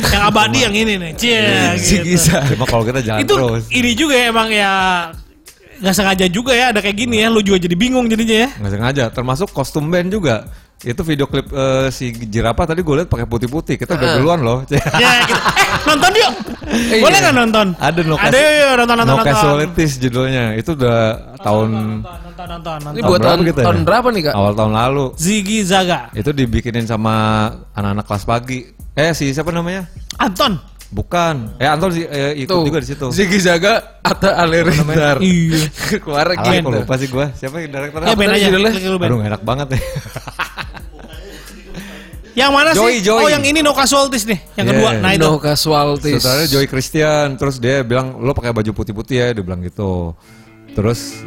[SPEAKER 1] Yang abadi yang ini nih. Cie,
[SPEAKER 3] Si
[SPEAKER 1] gitu.
[SPEAKER 3] Gisa. Cuma kalau kita jalan
[SPEAKER 1] itu
[SPEAKER 3] Iya, terus.
[SPEAKER 1] ini juga ya emang ya nggak sengaja juga ya ada kayak gini ya lu juga jadi bingung jadinya ya
[SPEAKER 3] nggak sengaja termasuk kostum band juga itu video klip eh, si jerapah tadi gue lihat pakai putih-putih kita udah duluan loh *laughs*
[SPEAKER 1] ya gitu. eh nonton yuk
[SPEAKER 3] Iya.
[SPEAKER 1] boleh nggak nonton
[SPEAKER 3] Ada no
[SPEAKER 1] ada
[SPEAKER 3] cas-
[SPEAKER 1] yuk, nonton nonton
[SPEAKER 3] No
[SPEAKER 1] nonton
[SPEAKER 3] Casualties judulnya. Itu udah tahun
[SPEAKER 1] nonton nonton nonton,
[SPEAKER 2] Ini
[SPEAKER 1] nonton.
[SPEAKER 2] buat tahun,
[SPEAKER 3] kita
[SPEAKER 2] tahun berapa nih kak?
[SPEAKER 3] Awal tahun lalu.
[SPEAKER 1] Ziggy Zaga
[SPEAKER 3] Itu dibikinin sama anak-anak kelas pagi. Eh si siapa namanya?
[SPEAKER 1] Anton
[SPEAKER 3] Bukan. Eh Anton si, eh,
[SPEAKER 2] Tuh,
[SPEAKER 3] ikut juga di situ.
[SPEAKER 2] Ziggy Zaga atau Alerindar. *laughs*
[SPEAKER 1] Iya.
[SPEAKER 2] Keluar
[SPEAKER 3] Alah,
[SPEAKER 2] gitu.
[SPEAKER 3] kok lupa sih gue. Siapa yang
[SPEAKER 1] ya
[SPEAKER 3] direkturnya?
[SPEAKER 1] Ben
[SPEAKER 2] tadi
[SPEAKER 1] aja
[SPEAKER 2] judulnya?
[SPEAKER 1] Klik dulu, Ben.
[SPEAKER 3] Aduh enak banget ya.
[SPEAKER 1] *laughs*
[SPEAKER 3] nih.
[SPEAKER 1] yang mana
[SPEAKER 3] Joy,
[SPEAKER 1] sih
[SPEAKER 3] Joy.
[SPEAKER 1] oh yang ini No Casualties nih yang kedua
[SPEAKER 3] Yeah.
[SPEAKER 1] nah itu
[SPEAKER 2] No casualties.
[SPEAKER 3] Saudaranya Joy Christian. Terus dia bilang lo pakai baju putih-putih ya. Dia bilang gitu. Terus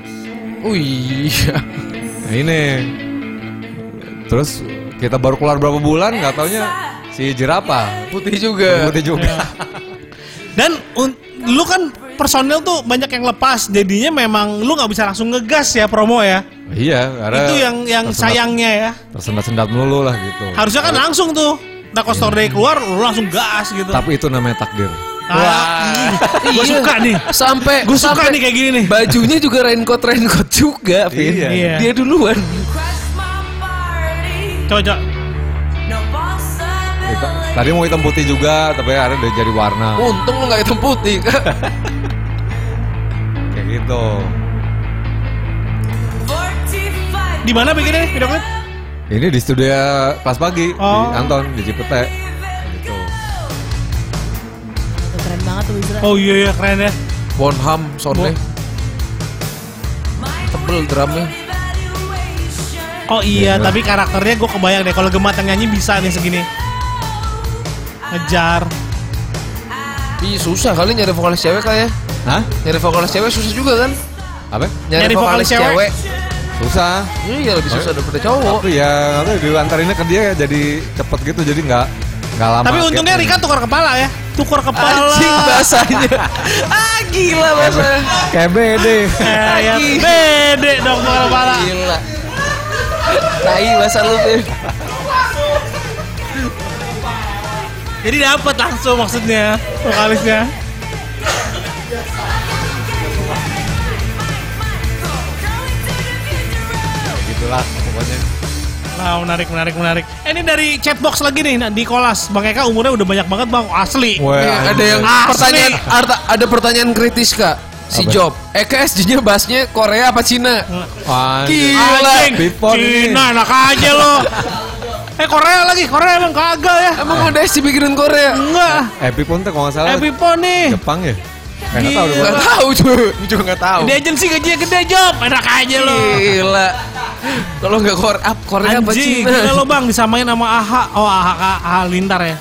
[SPEAKER 2] Oh iya.
[SPEAKER 3] Nah, ini. Terus kita baru keluar berapa bulan nggak taunya si jerapah
[SPEAKER 2] Putih juga.
[SPEAKER 3] putih juga.
[SPEAKER 1] Iya. dan un- lu kan personil tuh banyak yang lepas jadinya memang lu nggak bisa langsung ngegas ya promo ya
[SPEAKER 3] Iya, karena
[SPEAKER 1] itu yang yang
[SPEAKER 3] tersendat-
[SPEAKER 1] sayangnya ya
[SPEAKER 3] tersendat-sendat melulu lah gitu.
[SPEAKER 1] harusnya kan langsung tuh Nakos Store Day keluar lu langsung gas gitu Ah, iya.
[SPEAKER 3] Tapi itu namanya takdir.
[SPEAKER 1] Wah, gue suka nih.
[SPEAKER 2] Iya. Sampai
[SPEAKER 1] Gue suka
[SPEAKER 2] sampai
[SPEAKER 1] nih kayak gini nih.
[SPEAKER 2] Bajunya juga raincoat raincoat juga, Vin.
[SPEAKER 3] Iya.
[SPEAKER 1] Iya.
[SPEAKER 2] Dia duluan.
[SPEAKER 1] Coba, coba.
[SPEAKER 3] Itu- Tadi mau hitam putih juga, tapi akhirnya udah jadi warna.
[SPEAKER 1] Oh.
[SPEAKER 2] Untung lu nggak hitam putih.
[SPEAKER 3] Kayak gitu.
[SPEAKER 1] Di mana bikinnya nih video klip?
[SPEAKER 3] Ini di studio kelas pagi di
[SPEAKER 1] Oh.
[SPEAKER 3] Anton di Cipete. Gitu.
[SPEAKER 6] Keren banget tuh Wizra.
[SPEAKER 1] Oh iya iya keren ya.
[SPEAKER 2] Bonham soundnya. Tebel drumnya.
[SPEAKER 1] Oh iya,
[SPEAKER 3] Iya.
[SPEAKER 1] tapi karakternya gue kebayang deh. Kalau Gemat yang nyanyi bisa nih segini. Ngejar.
[SPEAKER 2] Ih susah kali nyari vokalis cewek kali ya.
[SPEAKER 3] Hah?
[SPEAKER 2] Nyari vokalis cewek susah juga kan?
[SPEAKER 3] Apa?
[SPEAKER 1] Nyari
[SPEAKER 2] Nyari,
[SPEAKER 1] vokalis
[SPEAKER 2] vokalis, cewek.
[SPEAKER 3] Susah.
[SPEAKER 2] Iya lebih susah daripada
[SPEAKER 1] Oh.
[SPEAKER 2] cowok.
[SPEAKER 3] Tapi ya nanti diantarinnya ke dia ya jadi cepet gitu, jadi nggak nggak lama.
[SPEAKER 1] tapi untungnya
[SPEAKER 3] gitu.
[SPEAKER 1] Rika tukar kepala ya. Tukar kepala.
[SPEAKER 2] Anjing bahasanya. *laughs* ah gila bahasanya.
[SPEAKER 3] Kayak bede.
[SPEAKER 1] *laughs* Eh, ya,
[SPEAKER 2] Lagi.
[SPEAKER 1] bede dong tukar kepala.
[SPEAKER 3] Iya.
[SPEAKER 2] Gila. Tai bahasa lu Vin.
[SPEAKER 1] Jadi dapat langsung maksudnya vokalisnya.
[SPEAKER 3] Gitulah pokoknya.
[SPEAKER 1] Nah, menarik, menarik, menarik. Eh, ini dari chatbox lagi nih, nah, di kolas. Bang Eka umurnya udah banyak banget, Bang. Asli.
[SPEAKER 3] Wah,
[SPEAKER 2] Nih, ada yang
[SPEAKER 1] Asli.
[SPEAKER 2] pertanyaan ada- ada pertanyaan kritis Kak. Si
[SPEAKER 3] Apa?
[SPEAKER 2] Job, Eh, Eka SG-nya bahasnya Korea apa Cina?
[SPEAKER 1] Hmm.
[SPEAKER 3] Anjir.
[SPEAKER 2] Gila.
[SPEAKER 1] Anjing,
[SPEAKER 3] Pipon ini.
[SPEAKER 1] Cina enak aja
[SPEAKER 3] *laughs*
[SPEAKER 1] lo. eh Korea lagi, Korea emang kagak ya?
[SPEAKER 2] Emang udah sih bikinan Korea?
[SPEAKER 1] Enggak.
[SPEAKER 3] Happy pun tuh kalau nggak salah
[SPEAKER 1] Epipon nih.
[SPEAKER 3] Jepang ya. Enggak tahu
[SPEAKER 1] Gila.
[SPEAKER 3] deh.
[SPEAKER 2] Gak tahu cuy, juga gak tahu.
[SPEAKER 1] Di agensi gajinya gede job, enak aja lo.
[SPEAKER 3] Iya.
[SPEAKER 2] Gila. Kalau nggak Korea, ah, Korea apa
[SPEAKER 1] Anjing,
[SPEAKER 2] Cina?
[SPEAKER 1] gila lo bang disamain sama AHA. Oh AHA, AHA Lintar ya.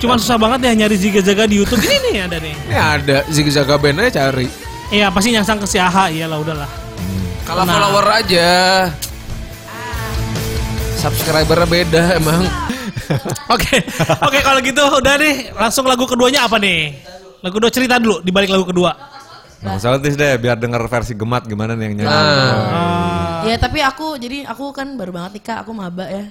[SPEAKER 1] Cuman susah banget ya nyari ziga-zaga di Youtube. Ini nih ada nih.
[SPEAKER 2] Ini ada zigzag band aja cari.
[SPEAKER 1] Iya pasti nyangsang ke si Iya AHA, iyalah
[SPEAKER 2] *laughs*
[SPEAKER 1] udahlah.
[SPEAKER 2] Kalau
[SPEAKER 1] Nah.
[SPEAKER 2] follower aja. Subscribernya beda emang.
[SPEAKER 1] Oke, oke kalau gitu udah nih. Langsung lagu keduanya apa nih? Lagu kedua cerita dulu di balik lagu kedua.
[SPEAKER 3] Nah, usah letis deh biar denger versi gemat gimana nih yang nyanyi.
[SPEAKER 1] Nah.
[SPEAKER 6] Ya tapi aku jadi aku kan baru banget nikah, aku maba ya.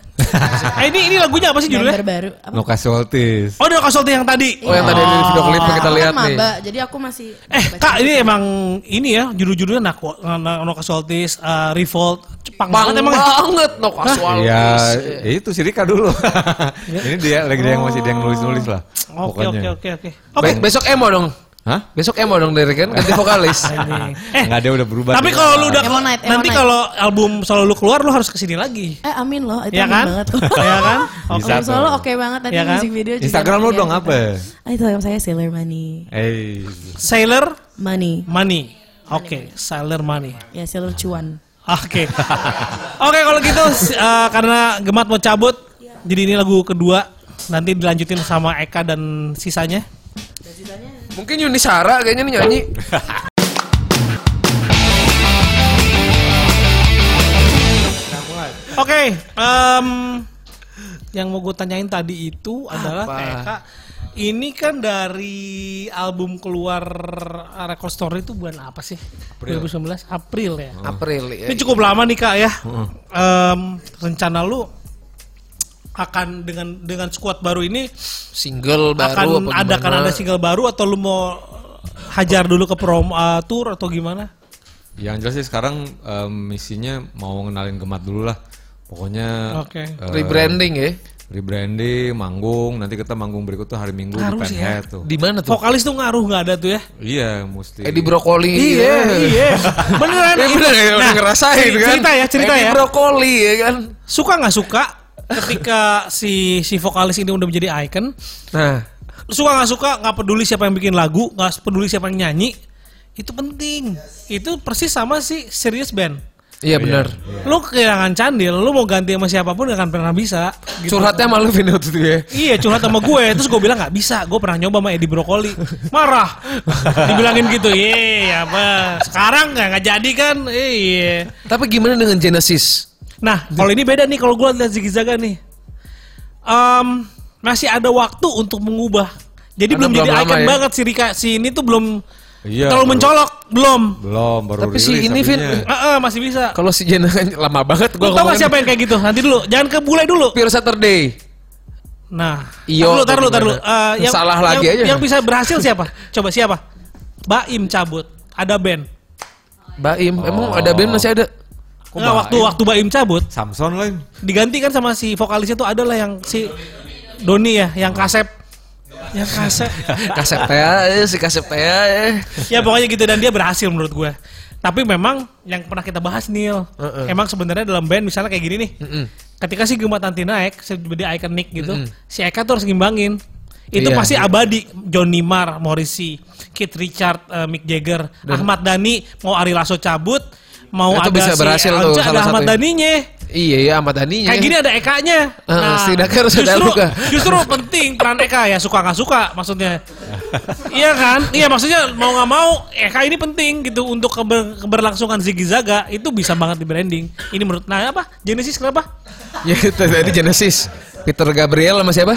[SPEAKER 1] Eh ini ini lagunya apa sih
[SPEAKER 6] Member
[SPEAKER 1] judulnya?
[SPEAKER 6] baru. Apa?
[SPEAKER 3] No casualties.
[SPEAKER 1] Oh, udah kasualty yang tadi.
[SPEAKER 2] Oh yang tadi ada di video klip kita
[SPEAKER 6] Aku
[SPEAKER 2] lihat
[SPEAKER 6] kan
[SPEAKER 2] nih.
[SPEAKER 6] maba, jadi aku masih
[SPEAKER 1] Eh kak ini emang ini ya judul-judulnya Nakwo, No Casualties, eh, Revolt, Jepang banget
[SPEAKER 2] Bang
[SPEAKER 1] emang. ya.
[SPEAKER 2] banget no
[SPEAKER 3] Iya,
[SPEAKER 2] casualties.
[SPEAKER 3] itu si Rika dulu.
[SPEAKER 1] Iya.
[SPEAKER 3] Ini dia lagi dia yang masih dia yang nulis-nulis lah.
[SPEAKER 1] Oh. Oke oke oke oke. Oke
[SPEAKER 2] Be- besok emo dong.
[SPEAKER 3] Hah?
[SPEAKER 2] Besok Emo dong dari kan ganti *laughs* vokalis.
[SPEAKER 1] Eh,
[SPEAKER 3] Enggak dia udah berubah.
[SPEAKER 1] Tapi
[SPEAKER 3] dia.
[SPEAKER 1] kalau lu udah
[SPEAKER 6] Emang naik, emang
[SPEAKER 1] nanti
[SPEAKER 6] naik.
[SPEAKER 1] kalau album solo lu keluar lu harus kesini lagi.
[SPEAKER 6] Eh amin loh, itu
[SPEAKER 1] Iya
[SPEAKER 6] amin
[SPEAKER 1] kan?
[SPEAKER 6] banget.
[SPEAKER 1] *laughs* Iya
[SPEAKER 6] *laughs*
[SPEAKER 1] kan?
[SPEAKER 3] Bisa
[SPEAKER 6] Kalau
[SPEAKER 3] tuh.
[SPEAKER 6] solo oke banget nanti
[SPEAKER 1] Iya kan?
[SPEAKER 6] musik video juga.
[SPEAKER 3] Instagram lu
[SPEAKER 6] Iya,
[SPEAKER 3] dong
[SPEAKER 6] kita-
[SPEAKER 3] apa? ya?
[SPEAKER 6] Ah, Instagram saya Sailor Money.
[SPEAKER 3] Eh,
[SPEAKER 1] Sailor
[SPEAKER 6] Money.
[SPEAKER 1] Money. Oke, Sailor Money.
[SPEAKER 6] Ya Sailor Cuan.
[SPEAKER 1] Oke. *laughs* Oke kalau gitu s- eh, karena Gemat mau cabut, jadi ini lagu kedua nanti dilanjutin sama Eka dan sisanya.
[SPEAKER 2] Mungkin Yuni Sara kayaknya nih nyanyi.
[SPEAKER 1] Oke, em, yang mau gue tanyain tadi itu adalah
[SPEAKER 2] Apa?
[SPEAKER 1] Eka. Ini kan dari album keluar Record Story itu bulan apa sih? 2019 April ya.
[SPEAKER 2] April ya.
[SPEAKER 1] Ini cukup lama nih kak ya. Em, rencana lu akan dengan dengan squad baru ini
[SPEAKER 2] Single baru
[SPEAKER 1] akan
[SPEAKER 2] apa
[SPEAKER 1] ada akan
[SPEAKER 2] gimana?
[SPEAKER 1] ada single baru atau lu mau hajar dulu ke prom eh, tour atau gimana?
[SPEAKER 3] yang jelas sih sekarang em, misinya mau ngenalin gemat dulu lah. Pokoknya
[SPEAKER 2] Nah.
[SPEAKER 1] Oke.
[SPEAKER 3] eh,
[SPEAKER 2] rebranding ya.
[SPEAKER 3] rebranding, manggung, nanti kita manggung berikut tuh hari Minggu
[SPEAKER 1] Ngaruh
[SPEAKER 3] di
[SPEAKER 1] sih ya.
[SPEAKER 3] Penhead tuh.
[SPEAKER 2] Di mana tuh?
[SPEAKER 1] Vokalis tuh ngaruh nggak ada tuh ya?
[SPEAKER 3] Iya, mesti.
[SPEAKER 2] Edi Eh, Brokoli.
[SPEAKER 1] iya. Beneran.
[SPEAKER 2] *laughs* Ya bener ya, udah ngerasain
[SPEAKER 1] ceri-
[SPEAKER 2] kan.
[SPEAKER 1] Cerita ya, cerita
[SPEAKER 2] Edi
[SPEAKER 1] ya.
[SPEAKER 2] Brokoli ya kan.
[SPEAKER 1] Suka nggak suka ketika si si vokalis ini udah menjadi icon,
[SPEAKER 2] Nah,
[SPEAKER 1] suka nggak suka nggak peduli siapa yang bikin lagu, nggak peduli siapa yang nyanyi, itu penting. Itu persis sama si serious band.
[SPEAKER 2] iya benar.
[SPEAKER 1] Lu kehilangan candil, lu mau ganti sama siapapun gak akan pernah bisa. Gitu.
[SPEAKER 2] Iya. Curhatnya malu Vino tuh ya.
[SPEAKER 1] Iya curhat sama gue Terus gue bilang gak bisa Gue pernah nyoba sama Edi Brokoli Marah Dibilangin gitu Iya apa Sekarang gak, nggak jadi kan Iya
[SPEAKER 2] Tapi gimana dengan Genesis?
[SPEAKER 1] Nah kalau ini beda nih Kalau gue lihat Ziggy Zaga nih Em, Masih ada waktu untuk mengubah Jadi
[SPEAKER 2] Karena
[SPEAKER 1] belum,
[SPEAKER 2] belum
[SPEAKER 1] jadi
[SPEAKER 2] lama
[SPEAKER 1] icon
[SPEAKER 2] ya.
[SPEAKER 1] banget si Rika Si ini tuh belum
[SPEAKER 3] Iya,
[SPEAKER 1] Terlalu
[SPEAKER 3] baru-
[SPEAKER 1] mencolok Belum
[SPEAKER 3] belum baru
[SPEAKER 2] Tapi si
[SPEAKER 3] rilis
[SPEAKER 2] ini, Vin,
[SPEAKER 3] akhirnya.
[SPEAKER 1] Eh, eh, Masih bisa
[SPEAKER 2] Iya. Kalau si Jena kan lama banget
[SPEAKER 1] Gue
[SPEAKER 2] gua
[SPEAKER 1] tau gak
[SPEAKER 2] ngomongin.
[SPEAKER 1] siapa yang kayak gitu Nanti dulu Jangan ke bule dulu
[SPEAKER 2] Pure Saturday.
[SPEAKER 1] Nah, taruh
[SPEAKER 2] Iyo,
[SPEAKER 1] dulu, taruh dulu, taruh dulu.
[SPEAKER 2] Iya, gimana?
[SPEAKER 1] Eh, yang,
[SPEAKER 2] Salah lagi
[SPEAKER 1] yang-
[SPEAKER 2] aja.
[SPEAKER 1] Yang bisa berhasil siapa? Coba siapa? Baim cabut, ada band.
[SPEAKER 2] Baim, emang ada band masih ada?
[SPEAKER 1] Enggak, Oh. waktu waktu Baim cabut
[SPEAKER 3] Samson lain.
[SPEAKER 1] digantikan sama si vokalisnya tuh adalah yang si Doni ya, yang kasep. Yang kasep.
[SPEAKER 2] *laughs* *laughs* Kasep Tea, eh, si Kasep Tea. eh.
[SPEAKER 1] ya pokoknya gitu dan dia berhasil menurut gue. Tapi memang yang pernah kita bahas Nil,
[SPEAKER 2] Heeh.
[SPEAKER 1] emang sebenarnya dalam band misalnya kayak gini nih.
[SPEAKER 2] Mm-mm.
[SPEAKER 1] Ketika si Gemat nanti naik jadi ikonik gitu, si Eka tuh harus ngimbangin. Itu
[SPEAKER 2] Iya,
[SPEAKER 1] pasti
[SPEAKER 2] iya.
[SPEAKER 1] abadi Johnny Marr, Morrissey, Keith Richard, eh, Mick Jagger, Ahmad Dhani, mau Ari Lasso cabut, mau
[SPEAKER 2] Nah, itu
[SPEAKER 1] ada
[SPEAKER 2] bisa
[SPEAKER 1] si
[SPEAKER 2] berhasil
[SPEAKER 1] Elca,
[SPEAKER 2] tuh
[SPEAKER 1] ada
[SPEAKER 2] salah
[SPEAKER 1] Ahmad
[SPEAKER 2] satunya.
[SPEAKER 1] Dhaninya.
[SPEAKER 2] Iya, iya Ahmad Dhani.
[SPEAKER 1] Kayak gini ya? ada Eka-nya. Nah,
[SPEAKER 2] Heeh, setidaknya harus ada
[SPEAKER 1] justru,
[SPEAKER 2] Luka.
[SPEAKER 1] justru penting peran Eka ya suka nggak suka maksudnya. iya kan? Iya maksudnya mau nggak mau Eka ini penting gitu untuk keber- keberlangsungan Ziggy Zaga itu bisa banget di branding. Ini menurut nah apa? Genesis kenapa?
[SPEAKER 2] Ya itu tadi Genesis. Peter Gabriel sama siapa?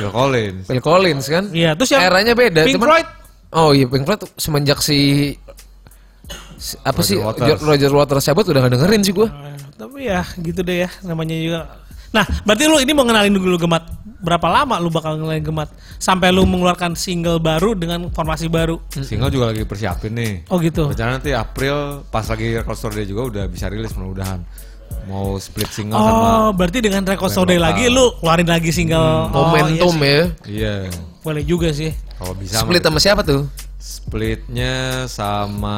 [SPEAKER 3] Phil Collins.
[SPEAKER 2] Phil Collins kan?
[SPEAKER 1] Iya, terus yang
[SPEAKER 2] eranya beda.
[SPEAKER 1] Pink
[SPEAKER 2] cuman-
[SPEAKER 1] Floyd.
[SPEAKER 2] Oh iya, Pink Floyd semenjak si, si- apa
[SPEAKER 3] Roger
[SPEAKER 2] sih
[SPEAKER 3] Waters.
[SPEAKER 2] Jo- Roger Waters cabut udah gak dengerin sih gua.
[SPEAKER 1] Eh, Tapi ya gitu deh ya namanya juga. Nah, berarti lu ini mau ngenalin dulu Gemat. Berapa lama lu bakal ngenalin Gemat sampai lu mengeluarkan single baru dengan formasi baru?
[SPEAKER 3] Single juga lagi persiapin nih.
[SPEAKER 1] Oh gitu.
[SPEAKER 3] Rencana nanti April pas lagi record store day juga udah bisa rilis mudah-mudahan. Mau split single sama
[SPEAKER 1] Oh, berarti dengan record Sound Day lagi lu keluarin lagi
[SPEAKER 3] Hmm.
[SPEAKER 1] single Oh, iya
[SPEAKER 2] Momentum
[SPEAKER 1] sih.
[SPEAKER 2] ya.
[SPEAKER 3] Iya.
[SPEAKER 1] Boleh juga sih.
[SPEAKER 3] Kalau bisa
[SPEAKER 2] Split
[SPEAKER 3] mah-
[SPEAKER 2] sama siapa tuh?
[SPEAKER 3] splitnya sama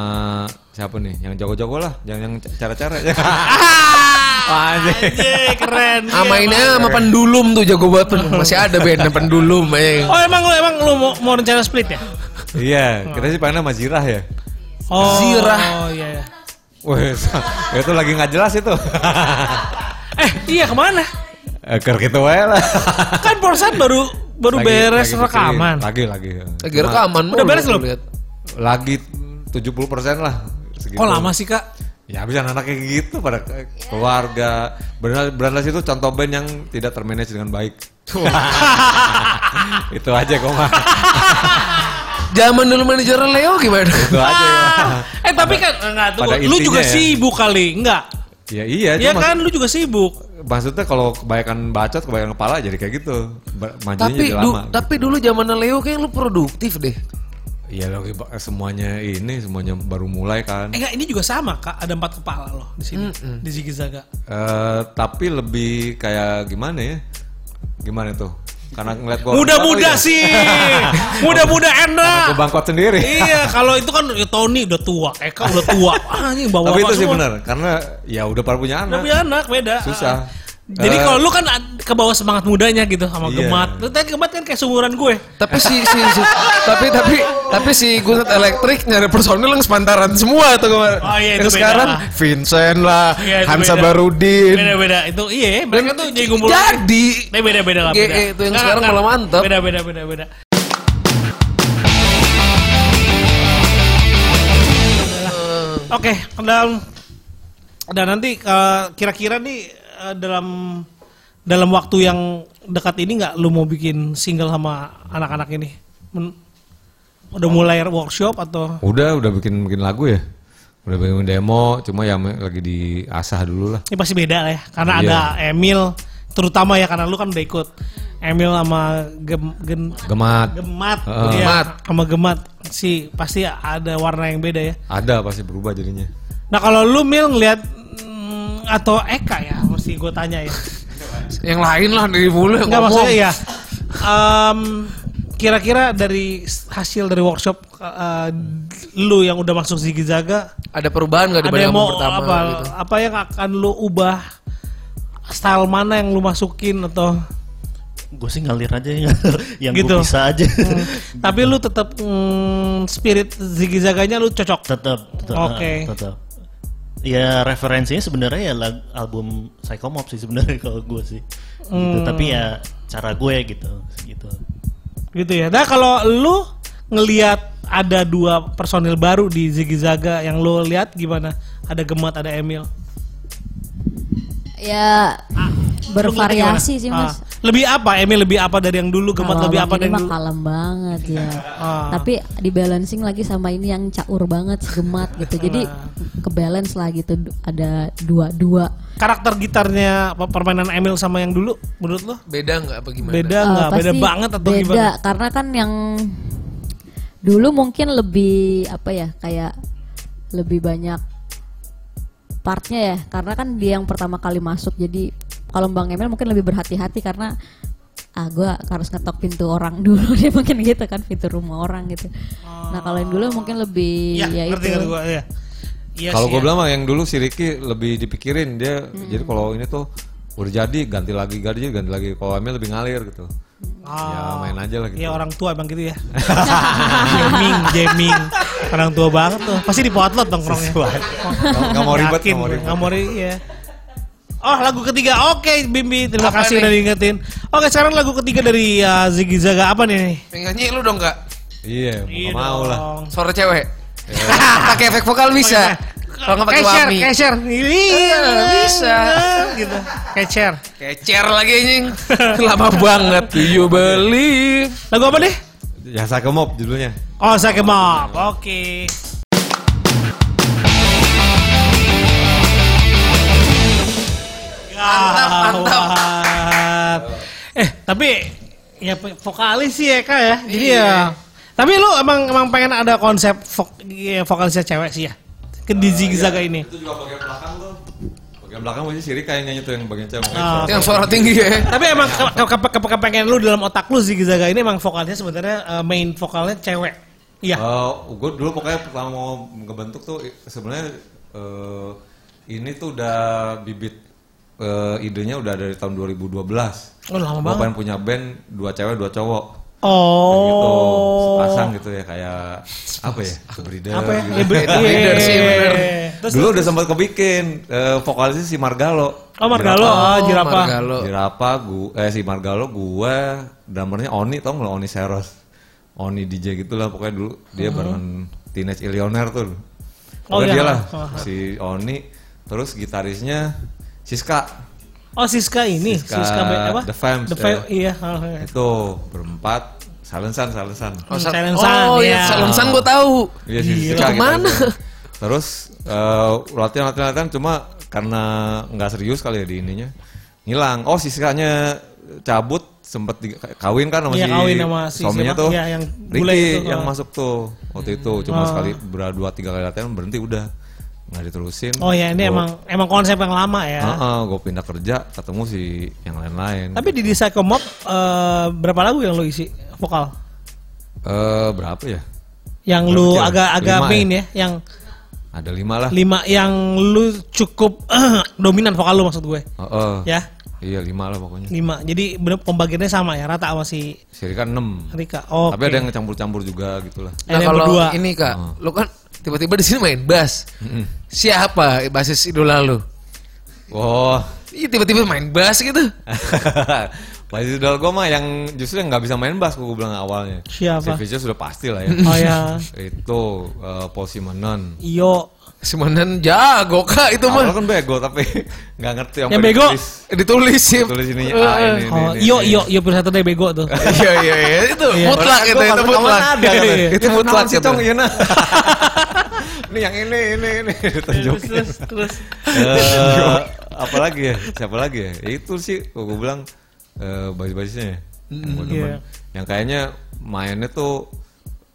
[SPEAKER 3] siapa nih? Yang jago-jago lah, jangan yang
[SPEAKER 2] *laughs*
[SPEAKER 3] cara-cara ya.
[SPEAKER 1] Anjir, keren. Iya,
[SPEAKER 2] Sama ini
[SPEAKER 1] emang.
[SPEAKER 2] sama Pendulum tuh jago banget. Pen- Masih ada band Pendulum. Eh.
[SPEAKER 1] Oh, emang lu emang lu mau, mau rencana split ya?
[SPEAKER 3] Iya, kita sih pengen sama Jirah ya.
[SPEAKER 1] Oh,
[SPEAKER 2] Zirah.
[SPEAKER 1] Oh iya. iya.
[SPEAKER 3] Wih, *laughs* itu lagi nggak jelas
[SPEAKER 2] *laughs*
[SPEAKER 3] itu.
[SPEAKER 1] Eh, iya kemana?
[SPEAKER 3] Eh, Ker gitu wae lah.
[SPEAKER 1] Kan Porsat baru baru
[SPEAKER 3] Lagi-
[SPEAKER 1] beres
[SPEAKER 3] lagi bikin-
[SPEAKER 1] rekaman.
[SPEAKER 3] Lagi lagi.
[SPEAKER 2] Lagi rekaman.
[SPEAKER 1] Udah
[SPEAKER 2] mulu
[SPEAKER 1] beres
[SPEAKER 2] gua
[SPEAKER 1] belum?
[SPEAKER 2] liat.
[SPEAKER 3] Lagi 70% lah. Segitu.
[SPEAKER 1] Kok lama sih, Kak?
[SPEAKER 3] Ya habis anak kayak gitu pada ke- keluarga. Benar Berandas itu contoh band yang tidak termanage dengan
[SPEAKER 1] *laughs*
[SPEAKER 3] baik. itu aja kok mah.
[SPEAKER 2] Zaman dulu manajer Leo
[SPEAKER 1] *laughs*
[SPEAKER 2] gimana?
[SPEAKER 3] Itu aja. Koma.
[SPEAKER 1] Ah, eh tapi kan enggak tuh.
[SPEAKER 3] Pada
[SPEAKER 1] Lu juga
[SPEAKER 3] intinya ya.
[SPEAKER 1] sibuk kali, enggak?
[SPEAKER 3] Ya iya,
[SPEAKER 1] Iya
[SPEAKER 3] cuma-
[SPEAKER 1] kan, lu juga sibuk.
[SPEAKER 3] Maksudnya kalau kebanyakan bacot, kebanyakan kepala jadi kayak gitu. Ba- Majunya
[SPEAKER 2] tapi
[SPEAKER 3] jadi
[SPEAKER 2] du-
[SPEAKER 3] lama. gitu.
[SPEAKER 2] tapi dulu zaman Leo kayak lu produktif deh.
[SPEAKER 3] Iya lagi ba- semuanya ini semuanya baru mulai kan.
[SPEAKER 1] Eh, enggak, ini juga sama, Kak. Ada empat kepala loh di sini, di Ziggy Zaga.
[SPEAKER 3] Eh, tapi lebih kayak gimana ya? Gimana tuh? Karena ngeliat gua
[SPEAKER 1] Muda-muda
[SPEAKER 3] *laughs*
[SPEAKER 1] sih. Muda-muda enak.
[SPEAKER 3] Gue bangkot sendiri. *laughs*
[SPEAKER 1] Iya, kalau itu kan ya, Tony udah tua, Eka udah tua. Ah, ini bawa
[SPEAKER 3] Tapi itu
[SPEAKER 1] apa
[SPEAKER 3] sih
[SPEAKER 1] semua.
[SPEAKER 3] benar, karena ya udah pada punya anak.
[SPEAKER 1] Tapi anak beda.
[SPEAKER 3] Susah.
[SPEAKER 1] Ah. Jadi
[SPEAKER 3] Eh.
[SPEAKER 1] kalau lu kan ad- ke bawah semangat mudanya gitu sama
[SPEAKER 3] Iya.
[SPEAKER 1] Gemat. Lu tadi Gemat kan kayak seumuran gue.
[SPEAKER 2] Tapi si, si,
[SPEAKER 1] *laughs*
[SPEAKER 2] si- tapi tapi tapi si Gusat Elektrik nyari personil yang sepantaran semua tuh kemarin.
[SPEAKER 1] Oh, iya, itu
[SPEAKER 2] yang
[SPEAKER 1] beda
[SPEAKER 2] sekarang
[SPEAKER 1] lah.
[SPEAKER 2] Vincent lah,
[SPEAKER 1] Iya, itu
[SPEAKER 2] Hansa
[SPEAKER 1] beda.
[SPEAKER 2] Barudin.
[SPEAKER 1] Beda-beda itu iya, mereka tuh jadi ngumpul.
[SPEAKER 2] Jadi
[SPEAKER 1] Tapi beda-beda lah.
[SPEAKER 2] GE
[SPEAKER 1] Eh, beda.
[SPEAKER 2] eh, itu yang
[SPEAKER 1] Nggak,
[SPEAKER 2] sekarang
[SPEAKER 1] nggak.
[SPEAKER 2] malah mantap.
[SPEAKER 1] Beda-beda beda-beda. Oke, dalam dan nanti eh, kira-kira nih eh, dalam dalam waktu yang dekat ini nggak lu mau bikin single sama anak-anak ini? Men- udah mulai workshop atau
[SPEAKER 3] Udah, udah bikin bikin lagu ya. Udah bikin demo, cuma ya me- lagi diasah dulu lah.
[SPEAKER 1] ini pasti beda lah ya karena
[SPEAKER 3] Iya.
[SPEAKER 1] ada Emil terutama ya karena lu kan udah ikut Emil sama Gem- Gen-
[SPEAKER 3] Gemat.
[SPEAKER 1] gemat, iya.
[SPEAKER 3] Heeh.
[SPEAKER 2] Ah. Gemat.
[SPEAKER 1] sama gemat sih pasti ada warna yang beda ya.
[SPEAKER 3] Ada pasti berubah jadinya.
[SPEAKER 1] Nah kalau lu mil ngelihat mm, atau Eka ya mesti gue tanya
[SPEAKER 2] *laughs*
[SPEAKER 1] ya.
[SPEAKER 2] yang lain lah dari mulu yang
[SPEAKER 1] Enggak
[SPEAKER 2] ngomong.
[SPEAKER 1] maksudnya ya. em, kira-kira dari s- hasil dari workshop eh, lu yang udah masuk Ziggy Zaga
[SPEAKER 2] Ada perubahan nggak
[SPEAKER 1] ada
[SPEAKER 2] dibanding
[SPEAKER 1] yang
[SPEAKER 2] album
[SPEAKER 1] mau
[SPEAKER 2] pertama
[SPEAKER 1] apa,
[SPEAKER 2] gitu?
[SPEAKER 1] apa yang akan lu ubah style mana yang lu masukin atau
[SPEAKER 5] Gue sih ngalir aja yang, *laughs* yang
[SPEAKER 1] Gitu.
[SPEAKER 5] gue bisa aja.
[SPEAKER 1] tapi lu tetap mm, spirit Ziggy Zaganya lu cocok
[SPEAKER 5] tetap tetap
[SPEAKER 1] Oke.
[SPEAKER 5] eh, tetap ya referensinya sebenarnya ya lag- album Psychomop sih sebenarnya *laughs* kalau gue sih gitu.
[SPEAKER 1] Hmm.
[SPEAKER 5] tapi ya cara gue gitu gitu
[SPEAKER 1] gitu ya. Nah kalau lu ngelihat ada dua personil baru di Ziggy Zaga yang lu lihat gimana? Ada Gemat, ada Emil.
[SPEAKER 4] Ya
[SPEAKER 1] Lu ngeliatnya
[SPEAKER 4] bervariasi
[SPEAKER 1] gimana?
[SPEAKER 4] sih mas.
[SPEAKER 1] Ah, lebih apa? Emil lebih apa dari yang dulu? Gemat
[SPEAKER 4] Kalau
[SPEAKER 1] lebih apa
[SPEAKER 4] abang ini
[SPEAKER 1] dari yang
[SPEAKER 4] mah
[SPEAKER 1] dulu?
[SPEAKER 4] kalem banget ya.
[SPEAKER 1] Ah.
[SPEAKER 4] Tapi di balancing lagi sama ini yang caur banget, si gemat gitu.
[SPEAKER 1] Iya.
[SPEAKER 4] Jadi ke balance lah gitu. Du- Ada dua-dua.
[SPEAKER 1] Karakter gitarnya pe- permainan Emil sama yang dulu menurut lu?
[SPEAKER 2] Beda nggak apa gimana?
[SPEAKER 1] Beda
[SPEAKER 4] Eh,
[SPEAKER 1] nggak? Beda
[SPEAKER 4] pasti
[SPEAKER 1] banget atau
[SPEAKER 4] beda,
[SPEAKER 1] gimana?
[SPEAKER 4] karena kan yang dulu mungkin lebih apa ya kayak lebih banyak partnya ya karena kan dia yang pertama kali masuk jadi kalau Bang Emil mungkin lebih berhati-hati karena ah gue harus ngetok pintu orang *laughs* dulu dia mungkin gitu kan pintu rumah orang gitu nah kalau yang dulu mungkin
[SPEAKER 1] Iya,
[SPEAKER 4] lebih ya,
[SPEAKER 1] ngerti
[SPEAKER 4] itu
[SPEAKER 1] ngerti gua. Iya. Iya
[SPEAKER 3] kalau
[SPEAKER 1] sih
[SPEAKER 3] gue
[SPEAKER 1] ya. Hmm.
[SPEAKER 3] bilang mah yang dulu si Ricky lebih dipikirin dia. Jadi kalau ini tuh udah jadi ganti lagi ganti ganti lagi. Kalau Emil lebih ngalir gitu.
[SPEAKER 1] Ah.
[SPEAKER 3] Ya main aja lah gitu.
[SPEAKER 1] Iya orang tua emang gitu ya. *laughs* jamming, jamming. Orang tua banget tuh. Pasti di potlot nongkrongnya.
[SPEAKER 3] Nggak- nggak mau ribet,
[SPEAKER 1] Yakin,
[SPEAKER 3] nggak mau ribet.
[SPEAKER 1] nggak mau ribet. ya. Oh lagu ketiga, oke Bimbi, terima
[SPEAKER 2] Apa
[SPEAKER 1] kasih
[SPEAKER 2] nih?
[SPEAKER 1] udah diingetin. Oke sekarang lagu ketiga dari uh, Ziggy Zaga apa nih?
[SPEAKER 2] Yang nyanyi lu dong nggak?
[SPEAKER 3] Iya, mau nggak mau lah.
[SPEAKER 1] dong.
[SPEAKER 2] Suara cewek. *laughs* pakai efek vokal bisa. Kalau nggak pakai
[SPEAKER 1] Eh. Kecer,
[SPEAKER 2] wami.
[SPEAKER 1] kecer. Iya,
[SPEAKER 2] bisa.
[SPEAKER 1] Gitu, kecer.
[SPEAKER 2] Kecer lagi anjing. *laughs* Lama banget.
[SPEAKER 1] Iya,
[SPEAKER 2] Do you believe?
[SPEAKER 1] Lagu apa nih?
[SPEAKER 3] Ya saya kemop judulnya.
[SPEAKER 1] Oh, Sake Mob. Oke. Mantap, Ah, Eh, tapi ya pe- vokalis sih Eka ya. Jadi ya. Tapi lu emang emang pengen ada konsep vok, iya, vokalisnya cewek sih ya. Ke
[SPEAKER 3] Eh,
[SPEAKER 1] di Ziggy
[SPEAKER 3] iya.
[SPEAKER 1] Zaga ini.
[SPEAKER 3] Itu juga bagian belakang tuh. Bagian belakang masih si Rika yang nyanyi tuh yang bagian cewek.
[SPEAKER 1] Ah.
[SPEAKER 2] Yang suara tinggi ya.
[SPEAKER 1] Tapi emang ke, ke, ke, ke- kepengen lu dalam otak lu Ziggy Zaga ini emang vokalnya sebenarnya eh, main vokalnya cewek. Iya.
[SPEAKER 3] Oh. gue Eh, dulu pokoknya pertama mau ngebentuk tuh i- sebenarnya eh, ini tuh udah bibit eh, idenya udah dari tahun 2012.
[SPEAKER 1] Oh, lama
[SPEAKER 3] Gua
[SPEAKER 1] banget.
[SPEAKER 3] pengen punya band dua cewek dua cowok. Kayak Gitu,
[SPEAKER 1] Oh.
[SPEAKER 3] sepasang gitu ya kayak apa ya? Breeder
[SPEAKER 1] apa ya?
[SPEAKER 3] gitu.
[SPEAKER 1] Label
[SPEAKER 2] Leader sih, bener.
[SPEAKER 1] Terus
[SPEAKER 3] dulu udah sempat kebikin eh, vokalisnya si Margalo.
[SPEAKER 1] Oh Margalo,
[SPEAKER 3] Jerapa.
[SPEAKER 1] oh, jerapa.
[SPEAKER 2] Margalo.
[SPEAKER 3] Jerapa, gua, eh si Margalo, gue, drummernya Oni, tau nggak lo, Oni Seros? Oni DJ gitu lah, pokoknya dulu dia barengan Teenage Illionaire tuh.
[SPEAKER 1] Oh,
[SPEAKER 3] Pokoknya
[SPEAKER 1] iya.
[SPEAKER 3] dia lah,
[SPEAKER 1] Oh, oh.
[SPEAKER 3] si Oni, terus gitarisnya Siska.
[SPEAKER 1] Oh Siska ini,
[SPEAKER 3] Siska
[SPEAKER 1] Siska, Be- apa?
[SPEAKER 3] The Femmes,
[SPEAKER 1] The Fam-
[SPEAKER 3] eh.
[SPEAKER 1] iya. oh, iya.
[SPEAKER 3] Itu, berempat, silencean, silencean.
[SPEAKER 1] Oh,
[SPEAKER 2] sa-
[SPEAKER 1] Silencean,
[SPEAKER 2] oh
[SPEAKER 1] ya.
[SPEAKER 2] iya, Silencean gue tahu.
[SPEAKER 3] Iya sih,
[SPEAKER 2] Gila. Kemana?
[SPEAKER 3] Terus eh, latihan latihan latihan cuma karena nggak serius kali ya di ininya ngilang. Oh sisanya cabut sempet di- kawin kan sama
[SPEAKER 1] Iya,
[SPEAKER 3] si
[SPEAKER 1] kawin sama si
[SPEAKER 3] suaminya
[SPEAKER 1] siapa?
[SPEAKER 3] tuh.
[SPEAKER 1] Iya, yang bule
[SPEAKER 3] Ricky
[SPEAKER 1] itu,
[SPEAKER 3] yang
[SPEAKER 1] oh.
[SPEAKER 3] masuk tuh waktu itu cuma sekali berdua tiga kali latihan berhenti udah nggak diterusin.
[SPEAKER 1] Oh ya ini
[SPEAKER 3] Gua-
[SPEAKER 1] emang emang konsep yang lama ya.
[SPEAKER 3] Heeh, gue pindah kerja ketemu si yang lain-lain.
[SPEAKER 1] Tapi di The Psycho Mob eh, berapa lagu yang lo isi vokal?
[SPEAKER 3] eh berapa ya?
[SPEAKER 1] Yang
[SPEAKER 3] Berapa
[SPEAKER 1] lu
[SPEAKER 3] kira?
[SPEAKER 1] agak-agak
[SPEAKER 3] Lima
[SPEAKER 1] main ya, yang
[SPEAKER 3] Ada lima lah.
[SPEAKER 1] lima yang lu cukup *clears throat* dominan vokal lu maksud gue.
[SPEAKER 3] Heeh.
[SPEAKER 1] Ya,
[SPEAKER 3] Iya lima lah pokoknya.
[SPEAKER 1] lima. Jadi bener pembagiannya sama ya, rata sama si
[SPEAKER 3] Si Rika enam.
[SPEAKER 1] Rika. Oh,
[SPEAKER 3] Tapi ada yang ngecampur-campur juga gitu lah.
[SPEAKER 2] Nah
[SPEAKER 1] Ada yang
[SPEAKER 2] kalau
[SPEAKER 1] berdua. Hmm.
[SPEAKER 2] ini kak, lo kan tiba-tiba di sini main bass. Siapa basis idola lo?
[SPEAKER 3] Wah. *laughs*
[SPEAKER 2] Ih tiba-tiba main bass gitu.
[SPEAKER 3] Masih idol gue mah yang justru yang nggak bisa main bass gue bilang awalnya.
[SPEAKER 1] Siapa?
[SPEAKER 3] Si Fisher sudah pasti lah ya.
[SPEAKER 1] Oh ya,
[SPEAKER 3] *laughs* Itu eh Paul Simonon.
[SPEAKER 1] Iyo.
[SPEAKER 2] Simonan jago kak itu
[SPEAKER 3] Awalnya
[SPEAKER 2] mah.
[SPEAKER 3] kan bego tapi *laughs* nggak ngerti sampai
[SPEAKER 1] Yang bego?
[SPEAKER 3] ditulis,
[SPEAKER 2] Ditulis sih. Eh.
[SPEAKER 3] ditulis ininya A ini,
[SPEAKER 1] Oh,
[SPEAKER 3] ini, ini,
[SPEAKER 1] iyo
[SPEAKER 3] ini.
[SPEAKER 1] iyo iyo pilih satu deh bego
[SPEAKER 3] *laughs*
[SPEAKER 1] tuh.
[SPEAKER 2] Iya iya iya itu
[SPEAKER 1] Iya.
[SPEAKER 2] mutlak itu itu mutlak.
[SPEAKER 3] Ada kata.
[SPEAKER 2] Itu mutlak gitu.
[SPEAKER 3] sih
[SPEAKER 2] itu.
[SPEAKER 3] Cong, iya, nah. *laughs* Ini yang ini ini ini ditunjukin.
[SPEAKER 1] terus.
[SPEAKER 3] *laughs* Eh, apa lagi ya? Siapa lagi ya? Ya Itu sih gue bilang eh basis-basisnya ya. Yang gua demen.
[SPEAKER 1] Iya.
[SPEAKER 3] Yang kayaknya mainnya tuh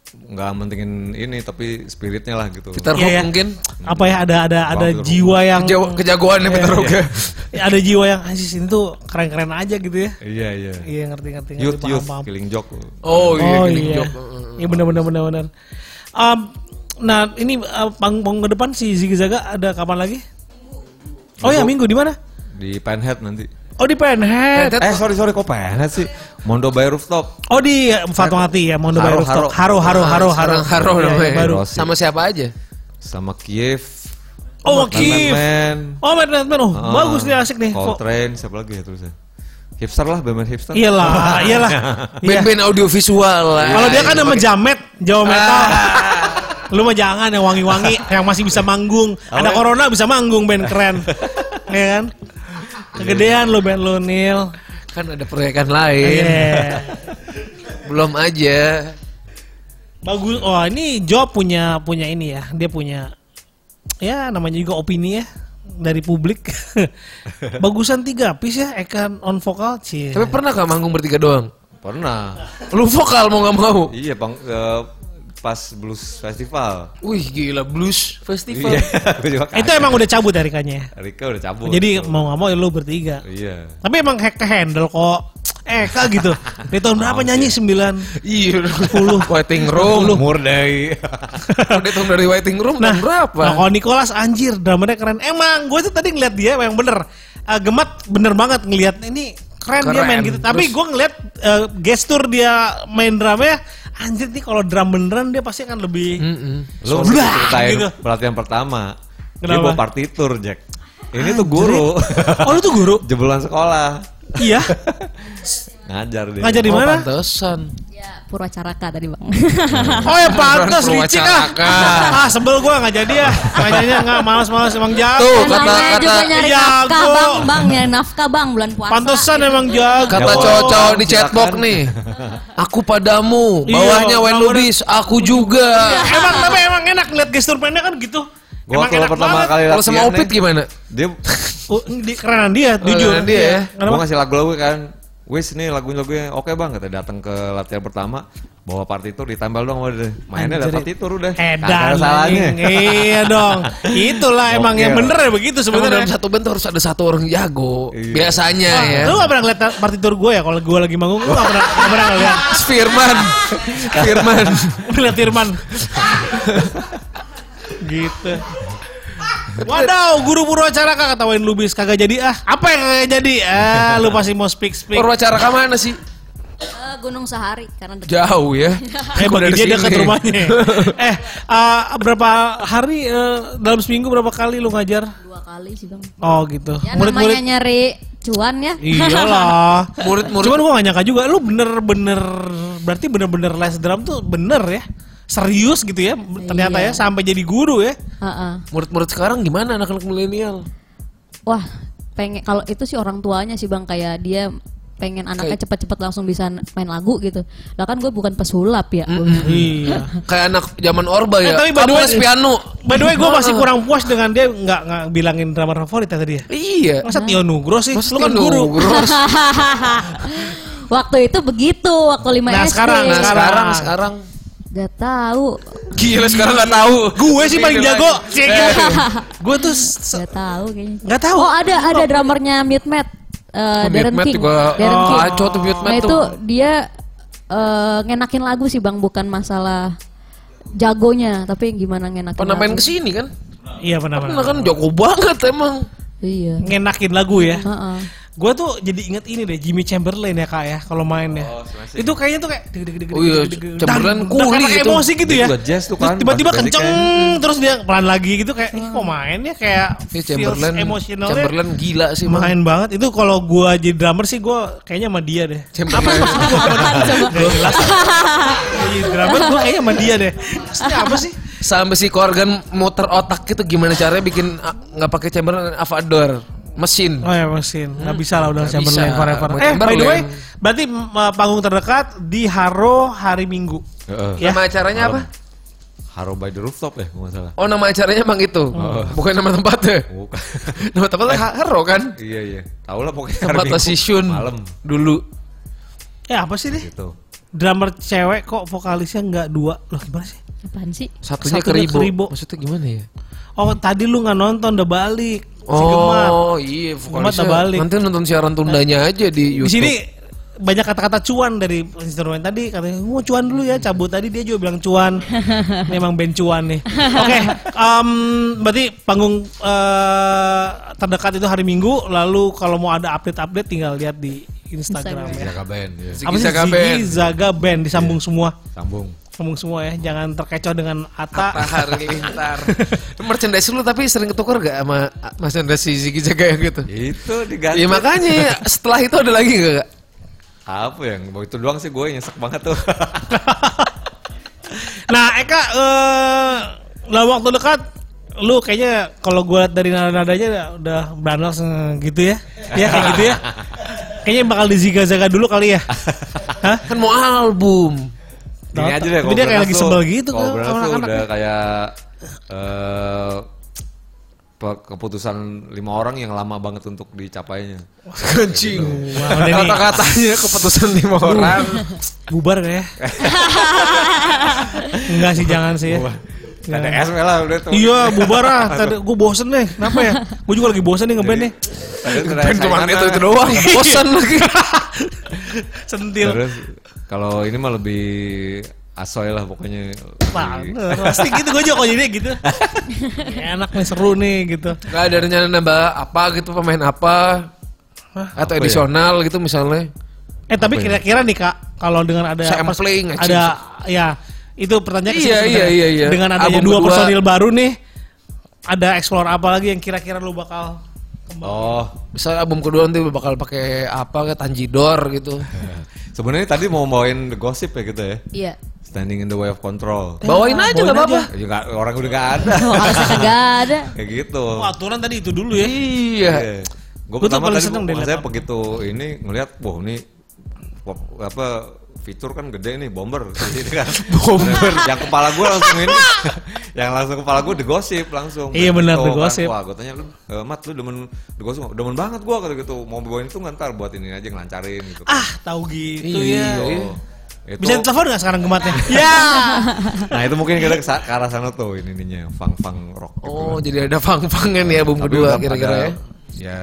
[SPEAKER 3] nggak mentingin ini tapi spiritnya lah gitu.
[SPEAKER 2] Peter
[SPEAKER 1] Iya,
[SPEAKER 2] Hook
[SPEAKER 1] iya.
[SPEAKER 2] mungkin
[SPEAKER 1] Apa ya ada ada ada
[SPEAKER 3] Bang,
[SPEAKER 1] jiwa yang
[SPEAKER 2] Kejawa-
[SPEAKER 1] Iya,
[SPEAKER 2] kejagoannya Peter Hook ya.
[SPEAKER 1] ada jiwa yang anjis ini tuh keren-keren aja gitu ya.
[SPEAKER 3] Iya iya.
[SPEAKER 1] Iya ngerti ngerti. ngerti,
[SPEAKER 3] Youth
[SPEAKER 1] paham,
[SPEAKER 3] youth
[SPEAKER 1] paham.
[SPEAKER 3] killing joke.
[SPEAKER 2] Oh iya
[SPEAKER 1] Oh
[SPEAKER 2] Killing
[SPEAKER 1] iya.
[SPEAKER 2] Joke.
[SPEAKER 1] Iya benar benar benar benar. Um, nah ini uh, panggung ke depan si Ziggy Zaga ada kapan lagi? Oh ya minggu di mana?
[SPEAKER 3] Di Panhead nanti.
[SPEAKER 1] Oh di Penhead.
[SPEAKER 2] Penhead.
[SPEAKER 3] Eh sorry sorry kok Panhead sih? Mondo by Rooftop.
[SPEAKER 1] Oh di Fatung Hati ya, Mondo Bayu
[SPEAKER 3] Haro, Ah,
[SPEAKER 1] Rooftop. Haro Haro Haro Haro
[SPEAKER 2] Ah, Sekarang Haro
[SPEAKER 1] Iya, iya,
[SPEAKER 2] namanya.
[SPEAKER 1] baru.
[SPEAKER 3] Haro.
[SPEAKER 2] Sama siapa aja?
[SPEAKER 3] sama Kiev.
[SPEAKER 1] Oh Kif.
[SPEAKER 3] Man.
[SPEAKER 1] Oh Madman Man. Oh bagus nih asik nih. Kok-
[SPEAKER 3] Coltrane, siapa lagi ya tulisnya? Hipster lah, band hipster.
[SPEAKER 1] *laughs* Iyalah, iyalah. Iya.
[SPEAKER 2] Band-band audiovisual lah.
[SPEAKER 1] Kalau dia kan
[SPEAKER 2] Iya,
[SPEAKER 1] nama
[SPEAKER 2] pakai-
[SPEAKER 1] Jamet, Jawa Metal. Lu mah jangan yang *laughs* wangi-wangi, yang masih bisa manggung. Ada corona bisa manggung band keren. *laughs* Iya kan? Kegedean lu band lu Nil.
[SPEAKER 2] kan ada proyekan lain.
[SPEAKER 1] Iya.
[SPEAKER 2] Belum aja.
[SPEAKER 1] Bagus. Oh, ini Job punya punya ini ya. Dia punya ya namanya juga opini ya dari publik. *laughs* Bagusan tiga piece ya, Ekan on vokal. Cie.
[SPEAKER 2] Tapi pernah gak manggung bertiga doang?
[SPEAKER 3] Pernah.
[SPEAKER 2] Lu vokal mau gak mau?
[SPEAKER 3] Iya, bang, eh, pas blues festival.
[SPEAKER 2] Wih gila blues festival.
[SPEAKER 3] Iya, gua juga
[SPEAKER 1] Itu
[SPEAKER 3] kaget.
[SPEAKER 1] emang udah cabut dari kayaknya.
[SPEAKER 3] Rika udah cabut.
[SPEAKER 1] Jadi
[SPEAKER 3] Tuh.
[SPEAKER 1] mau nggak mau ya lu bertiga.
[SPEAKER 3] Iya.
[SPEAKER 1] Tapi emang hack ke handle kok. Eka gitu. Di tahun
[SPEAKER 3] ya.
[SPEAKER 1] berapa nyanyi? 9.
[SPEAKER 2] Iya, puluh waiting room.
[SPEAKER 3] Umur dari
[SPEAKER 2] Udah tahun dari waiting room tahun berapa?
[SPEAKER 1] Nah, kalau Nicholas anjir dramanya keren. Emang gue tuh tadi ngeliat dia yang bener. Eh, gemat bener banget ngeliat ini keren, dia
[SPEAKER 2] Keren.
[SPEAKER 1] main gitu. Tapi
[SPEAKER 2] Terus-
[SPEAKER 1] gue ngeliat eh, gestur dia main drumnya anjir nih kalau drum beneran dia pasti akan lebih
[SPEAKER 3] Hmm.
[SPEAKER 2] Mm-mm.
[SPEAKER 3] lu mesti
[SPEAKER 1] Blah,
[SPEAKER 3] ceritain
[SPEAKER 1] gitu.
[SPEAKER 3] pelatihan pertama. Dia
[SPEAKER 1] Kenapa?
[SPEAKER 3] bawa partitur, Jack. Ini tuh guru.
[SPEAKER 1] Oh, lu tuh
[SPEAKER 3] *laughs*
[SPEAKER 1] guru?
[SPEAKER 3] Jebolan sekolah.
[SPEAKER 1] iya.
[SPEAKER 3] Ngajar dia.
[SPEAKER 1] Ngajar di
[SPEAKER 2] Oh,
[SPEAKER 1] mana?
[SPEAKER 2] pantesan.
[SPEAKER 4] Ya, Purwacaraka tadi bang.
[SPEAKER 1] Oh ya pantas
[SPEAKER 2] Bukan
[SPEAKER 1] licik ah.
[SPEAKER 2] perwacaraan.
[SPEAKER 1] Ah sebel gue nggak jadi ya. Ngajarnya nggak malas-malas emang jago.
[SPEAKER 4] *laughs*
[SPEAKER 2] Tuh
[SPEAKER 4] Namanya
[SPEAKER 2] kata-kata
[SPEAKER 4] juga nyari
[SPEAKER 1] Jago.
[SPEAKER 4] nafkah bang, bang nyari nafkah bang bulan puasa.
[SPEAKER 1] Pantesan emang jago.
[SPEAKER 2] kata
[SPEAKER 3] Jawab.
[SPEAKER 2] cowok-cowok di
[SPEAKER 3] Silakan.
[SPEAKER 2] chatbox
[SPEAKER 1] *laughs*
[SPEAKER 2] nih. Aku padamu,
[SPEAKER 1] Iya,
[SPEAKER 2] bawahnya
[SPEAKER 1] bawahnya-
[SPEAKER 2] Wayne Lubis, aku juga.
[SPEAKER 1] emang tapi emang enak lihat gestur mainnya kan gitu.
[SPEAKER 3] Gua
[SPEAKER 1] emang
[SPEAKER 3] kalau pertama kali
[SPEAKER 2] Kalau sama
[SPEAKER 3] latihan
[SPEAKER 2] Opit
[SPEAKER 3] nih,
[SPEAKER 2] gimana?
[SPEAKER 3] Dia
[SPEAKER 1] Oh, di kerenan dia, jujur.
[SPEAKER 2] kerenan dia ya.
[SPEAKER 1] *laughs* Kenapa?
[SPEAKER 3] gua ngasih lagu lagu kan. Wis nih lagu-lagunya oke bang kata datang ke latihan pertama bawa partitur ditambal dong sama dia. Mainnya ada
[SPEAKER 1] Anjir.
[SPEAKER 3] partitur udah. Kagak
[SPEAKER 1] Edan
[SPEAKER 3] ada salahnya.
[SPEAKER 1] anjing. Eh, Iya dong. Itulah emang yang
[SPEAKER 3] Gokil.
[SPEAKER 1] bener ya begitu
[SPEAKER 2] Emang dalam
[SPEAKER 1] sebenarnya.
[SPEAKER 2] satu band tuh harus ada satu orang jago.
[SPEAKER 3] Iya.
[SPEAKER 2] Biasanya ya.
[SPEAKER 1] Lu gak pernah ngeliat partitur gue ya kalau gue lagi manggung lu gak pernah gak pernah ngeliat.
[SPEAKER 2] Firman.
[SPEAKER 1] *laughs*
[SPEAKER 2] Firman.
[SPEAKER 1] Ngeliat Irman. gitu. Wadaw, guru Purwacaraka kata Wayne Lubis kagak jadi ah. Apa yang kagak jadi? Ah, lu pasti mau speak speak.
[SPEAKER 2] Perwacara ke mana sih?
[SPEAKER 4] Eh, Gunung Sahari karena dekat.
[SPEAKER 2] Jauh ya.
[SPEAKER 1] *laughs* Eh,
[SPEAKER 2] Gua
[SPEAKER 1] bagi
[SPEAKER 2] dari
[SPEAKER 1] dia dekat
[SPEAKER 2] sini. *laughs*
[SPEAKER 1] rumahnya. eh, ah, berapa hari eh, dalam seminggu berapa kali lu ngajar?
[SPEAKER 4] dua kali sih bang.
[SPEAKER 1] Oh gitu.
[SPEAKER 4] Ya namanya
[SPEAKER 1] Murid-murid
[SPEAKER 4] nyari cuan ya.
[SPEAKER 2] Iya.
[SPEAKER 1] Iyalah.
[SPEAKER 2] *laughs* Murid-murid.
[SPEAKER 1] Cuman gua gak nyangka juga lu bener-bener berarti bener-bener les drum tuh bener ya. Serius gitu ya ternyata
[SPEAKER 4] Iya.
[SPEAKER 1] ya sampai jadi guru ya.
[SPEAKER 4] Heeh.
[SPEAKER 2] Murid-murid sekarang gimana anak-anak milenial?
[SPEAKER 4] Wah, pengen kalau itu sih orang tuanya sih bang kayak dia pengen anaknya cepet-cepet langsung bisa main lagu gitu. Lah kan gue bukan pesulap ya.
[SPEAKER 1] Iya.
[SPEAKER 2] Kayak anak zaman Orba
[SPEAKER 1] Eh,
[SPEAKER 2] ya.
[SPEAKER 1] tapi by the
[SPEAKER 2] Kamu
[SPEAKER 1] way-
[SPEAKER 2] les piano.
[SPEAKER 1] By the way gue masih kurang puas dengan dia nggak nggak bilangin drummer favorit ya tadi ya.
[SPEAKER 2] Iya.
[SPEAKER 1] Masa Tio Nugro sih?
[SPEAKER 2] Masa
[SPEAKER 1] lu kan
[SPEAKER 2] Tio
[SPEAKER 1] guru.
[SPEAKER 2] Nugro?
[SPEAKER 1] *laughs*
[SPEAKER 4] waktu itu begitu, waktu 5
[SPEAKER 1] Nah,
[SPEAKER 4] SD.
[SPEAKER 1] sekarang,
[SPEAKER 2] Nah
[SPEAKER 1] Sekarang.
[SPEAKER 2] sekarang sekarang
[SPEAKER 4] Gak tahu.
[SPEAKER 2] Gila sekarang nggak tahu.
[SPEAKER 1] Gue sih paling
[SPEAKER 2] Ini
[SPEAKER 1] jago. Iya.
[SPEAKER 2] lagi. Eh,
[SPEAKER 1] Cek. *laughs* Gue tuh s-
[SPEAKER 4] Gak tahu kayaknya.
[SPEAKER 1] Nggak tahu.
[SPEAKER 4] Oh ada ada drummernya Mute Matt. eh,
[SPEAKER 2] Oh, Mute
[SPEAKER 4] Darren
[SPEAKER 2] Matt
[SPEAKER 4] King.
[SPEAKER 2] juga,
[SPEAKER 4] Darren
[SPEAKER 2] oh,
[SPEAKER 4] King.
[SPEAKER 2] kacau tuh Mute
[SPEAKER 4] Nah
[SPEAKER 2] Matt
[SPEAKER 4] itu
[SPEAKER 2] tuh.
[SPEAKER 4] dia eh, ngenakin lagu sih bang, bukan masalah jagonya, tapi gimana ngenakin
[SPEAKER 2] Pernah main
[SPEAKER 4] lagu.
[SPEAKER 2] kesini kan?
[SPEAKER 1] Iya pernah
[SPEAKER 2] Pernah
[SPEAKER 1] pernah.
[SPEAKER 2] kan jago banget emang.
[SPEAKER 4] Iya.
[SPEAKER 1] Ngenakin lagu ya.
[SPEAKER 4] Heeh.
[SPEAKER 1] Gue tuh jadi inget ini deh Jimmy Chamberlain ya kak ya kalau main ya. itu kayaknya tuh kayak deg deg deg
[SPEAKER 2] Oh iya,
[SPEAKER 1] deg- deg-
[SPEAKER 2] Chamberlain
[SPEAKER 1] dang-
[SPEAKER 2] kuli
[SPEAKER 1] dang- karena kayak
[SPEAKER 2] gitu.
[SPEAKER 1] emosi gitu
[SPEAKER 3] Dia
[SPEAKER 1] ya.
[SPEAKER 3] juga jazz tuh
[SPEAKER 1] Terus
[SPEAKER 3] kan,
[SPEAKER 1] tiba-tiba
[SPEAKER 3] pas basic
[SPEAKER 1] kenceng terus dia pelan lagi gitu kayak ih kok mainnya kayak
[SPEAKER 2] Ini
[SPEAKER 1] feels
[SPEAKER 2] Iya, Chamberlain,
[SPEAKER 1] emotionalnya
[SPEAKER 2] Chamberlain gila sih emang.
[SPEAKER 1] main banget itu kalau gua jadi drummer sih gua kayaknya sama dia deh.
[SPEAKER 2] Chamberlain.
[SPEAKER 1] Gak *laughs* jelas. Jadi drummer gua kayaknya sama dia deh. Maksudnya apa sih?
[SPEAKER 2] Sampai si Korgan muter otak gitu gimana caranya bikin ah, nggak pakai Chamberlain Avador mesin.
[SPEAKER 1] Oh ya mesin, nggak bisa lah udah
[SPEAKER 2] Nggak
[SPEAKER 1] Chamberlain
[SPEAKER 2] bisa.
[SPEAKER 1] forever.
[SPEAKER 2] Mau
[SPEAKER 1] Eh by the way,
[SPEAKER 2] Chamberlain.
[SPEAKER 1] berarti uh, panggung terdekat di Haro hari Minggu.
[SPEAKER 3] *laughs* Heeh.
[SPEAKER 1] Ya.
[SPEAKER 2] Nama acaranya apa?
[SPEAKER 3] Haro by the rooftop ya, kalau nggak salah.
[SPEAKER 2] Oh nama acaranya emang itu.
[SPEAKER 1] Oh.
[SPEAKER 2] Bukan nama
[SPEAKER 1] *laughs*
[SPEAKER 2] tempatnya.
[SPEAKER 3] Bukan.
[SPEAKER 2] Nama
[SPEAKER 1] Eh,
[SPEAKER 2] tempatnya Haro kan?
[SPEAKER 3] iya iya. Tahu lah pokoknya. hari
[SPEAKER 2] Tempat
[SPEAKER 3] Minggu
[SPEAKER 2] si Shun
[SPEAKER 3] Malam
[SPEAKER 2] dulu.
[SPEAKER 1] Ya apa sih deh?
[SPEAKER 3] gitu.
[SPEAKER 1] Drummer cewek kok vokalisnya nggak dua? Loh gimana sih?
[SPEAKER 4] Apaan sih?
[SPEAKER 2] Satunya,
[SPEAKER 1] Satunya
[SPEAKER 2] keribu.
[SPEAKER 1] keribu.
[SPEAKER 2] Maksudnya gimana ya?
[SPEAKER 1] Oh tadi lu nggak nonton udah balik. Si Gemar.
[SPEAKER 2] Oh iya vokalisnya.
[SPEAKER 1] udah balik. Eh,
[SPEAKER 2] Nanti nonton siaran tundanya aja di
[SPEAKER 1] Di
[SPEAKER 2] YouTube.
[SPEAKER 1] sini banyak kata-kata cuan dari instrumen tadi katanya mau cuan dulu ya cabut tadi dia juga bilang cuan memang band cuan nih oke em, berarti panggung eh, terdekat itu hari minggu lalu kalau mau ada update-update tinggal lihat di Instagram, ya
[SPEAKER 3] Jaga band. Iya.
[SPEAKER 2] Ziggy
[SPEAKER 1] apa sih
[SPEAKER 2] Zaga Band.
[SPEAKER 1] Ziggy Zaga Band disambung semua
[SPEAKER 3] Sambung.
[SPEAKER 1] sambung semua ya jangan terkecoh dengan
[SPEAKER 2] Pak
[SPEAKER 1] Ata *laughs*
[SPEAKER 2] Halilintar. Merchandise lu tapi sering ketukar gak sama ah, merchandise si Ziggy Jaga yang gitu?
[SPEAKER 3] Itu diganti.
[SPEAKER 1] Iya.
[SPEAKER 2] Ya makanya setelah itu ada lagi gak? Kak?
[SPEAKER 3] Apa yang itu doang sih gue nyesek banget
[SPEAKER 1] *laughs*
[SPEAKER 3] tuh.
[SPEAKER 1] nah Eka eh dalam waktu dekat lu kayaknya kalau gue lihat dari nada-nadanya udah bandel se- gitu ya ya kayak gitu ya kayaknya bakal diziga-zaga dulu kali ya Hah?
[SPEAKER 2] Kan mau album.
[SPEAKER 3] Gini aja deh.
[SPEAKER 1] Tapi dia kayak lagi sebel gitu kan,
[SPEAKER 3] Kalau Bernas tuh
[SPEAKER 1] anak-anak
[SPEAKER 3] udah kayak eh, pe- keputusan lima orang yang lama banget untuk dicapainya.
[SPEAKER 2] Kencing.
[SPEAKER 1] Wah, udah nih.
[SPEAKER 2] Kata-katanya keputusan lima orang.
[SPEAKER 1] bubar kayak ya enggak sih jangan sih ya. Jangan.
[SPEAKER 3] Ada SM lah udah tuh.
[SPEAKER 1] iya bubar ah gue bosen nih kenapa ya gue juga lagi bosen nih ngeband nih
[SPEAKER 3] Tadi tuh ada
[SPEAKER 2] Kan cuma
[SPEAKER 3] saingannya.
[SPEAKER 2] itu itu doang. Bosan lagi.
[SPEAKER 1] sentil
[SPEAKER 3] Terus kalau ini mah lebih asoy lah pokoknya.
[SPEAKER 1] Banget.
[SPEAKER 3] Lebih-
[SPEAKER 1] Pasti gitu gue juga kok jadi *laughs* gitu. Ya, enak nih seru nih gitu.
[SPEAKER 2] Gak ada rencana nambah apa gitu pemain apa atau
[SPEAKER 3] Apa ya?
[SPEAKER 2] edisional gitu misalnya.
[SPEAKER 1] Eh tapi kira-kira nih Kak, kalau dengan ada
[SPEAKER 2] ya? Sampling,
[SPEAKER 1] pas- ada ya itu pertanyaan ke sini
[SPEAKER 2] Iya,
[SPEAKER 1] sebenarnya.
[SPEAKER 2] iya, iya, iya.
[SPEAKER 1] Dengan adanya
[SPEAKER 2] Album
[SPEAKER 1] dua
[SPEAKER 2] kedua.
[SPEAKER 1] personil baru nih ada explore apa lagi yang kira-kira lu bakal
[SPEAKER 3] Oh,
[SPEAKER 2] Misalnya album kedua nanti bakal pakai apa kayak Tanjidor gitu.
[SPEAKER 3] sebenarnya tadi mau bawain the gossip ya gitu ya.
[SPEAKER 4] Iya.
[SPEAKER 3] Standing in the way of control.
[SPEAKER 2] Bawain aja
[SPEAKER 1] bawain
[SPEAKER 2] gak apa-apa.
[SPEAKER 3] Ya, nggak- orang udah gak ada.
[SPEAKER 4] Oh, alasnya kagak ada.
[SPEAKER 3] Kayak gitu.
[SPEAKER 1] Oh, aturan tadi itu dulu ya.
[SPEAKER 2] Iya.
[SPEAKER 3] Gue
[SPEAKER 1] Lu tuh
[SPEAKER 3] pertama
[SPEAKER 1] paling
[SPEAKER 3] kali
[SPEAKER 1] seneng
[SPEAKER 3] gua-
[SPEAKER 1] deh
[SPEAKER 3] saya
[SPEAKER 1] liat apa.
[SPEAKER 3] begitu ini ngelihat, wah ini pop- apa fitur kan gede nih bomber *laughs* Jadi kan bomber yang kepala gue langsung ini *laughs* yang langsung kepala gue digosip langsung
[SPEAKER 1] Iya,
[SPEAKER 3] Gitu
[SPEAKER 1] benar,
[SPEAKER 3] kan.
[SPEAKER 1] digosip.
[SPEAKER 3] wah gue tanya lu eh, mat lu demen digosip nggak?" demen banget gue kata gitu mau bawain itu ngantar buat ini aja ngelancarin gitu
[SPEAKER 1] Ah, tahu gitu ya.
[SPEAKER 3] Iya. Itu-
[SPEAKER 1] Bisa telepon nggak sekarang gematnya?
[SPEAKER 2] Iya.
[SPEAKER 1] ya.
[SPEAKER 3] nah itu mungkin kita kesa- ke arah sana tuh ini ininya fang fang rock gitu
[SPEAKER 2] Oh,
[SPEAKER 3] kan.
[SPEAKER 2] jadi ada fang-fangan ya album
[SPEAKER 3] Tapi
[SPEAKER 2] kedua
[SPEAKER 3] udah
[SPEAKER 2] kira-kira
[SPEAKER 3] ada-
[SPEAKER 2] ya.
[SPEAKER 3] ya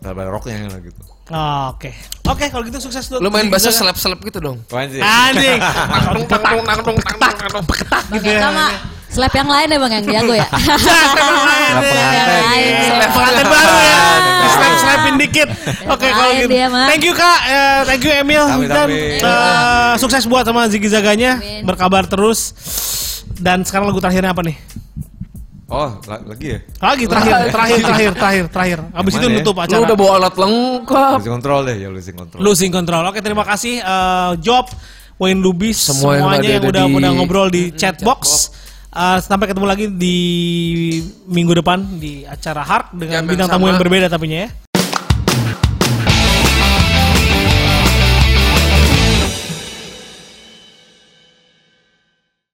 [SPEAKER 3] terbaik rocknya lah gitu
[SPEAKER 1] Oh, Oke. Oke, kalau gitu sukses dulu.
[SPEAKER 2] Lu main bass selap-selap gitu dong.
[SPEAKER 3] Apaan sih?
[SPEAKER 1] Anjing.
[SPEAKER 2] Nangdung nangdung nangdung nangdung peketak.
[SPEAKER 4] Bang Eka mah slap yang lain ya bang yang jago *laughs* ya.
[SPEAKER 1] Jangan
[SPEAKER 4] yang lain.
[SPEAKER 1] Slap pengantin ya. baru ya. Slap slapin dikit. Oke kalau
[SPEAKER 4] Ngapain
[SPEAKER 1] gitu.
[SPEAKER 4] dia, Mas?
[SPEAKER 1] Thank you Kak. Eh, thank you Emil dan
[SPEAKER 3] Sama-sama.
[SPEAKER 1] eh, sukses buat sama Ziggy Zaganya.
[SPEAKER 4] Amin.
[SPEAKER 1] Berkabar terus. Dan sekarang lagu terakhirnya apa nih?
[SPEAKER 3] Oh, la- lagi ya?
[SPEAKER 1] Lagi terakhir, terakhir, terakhir, terakhir, terakhir. Abis
[SPEAKER 3] Yang
[SPEAKER 1] itu
[SPEAKER 3] mana ya?
[SPEAKER 1] nutup
[SPEAKER 2] Lu
[SPEAKER 1] acara.
[SPEAKER 2] udah bawa alat lengkap.
[SPEAKER 3] Losing control deh, ya losing control.
[SPEAKER 1] Losing control. Oke, terima kasih eh, Job, Wayne Lubis,
[SPEAKER 2] Semua yang
[SPEAKER 1] semuanya
[SPEAKER 2] ada-
[SPEAKER 1] yang
[SPEAKER 2] ada
[SPEAKER 1] udah
[SPEAKER 2] di-
[SPEAKER 1] udah ngobrol di chatbox. Eh, sampai ketemu lagi di minggu depan di acara Hark dengan
[SPEAKER 2] Jam yang
[SPEAKER 1] bintang tamu
[SPEAKER 2] sama.
[SPEAKER 1] yang berbeda tapinya ya.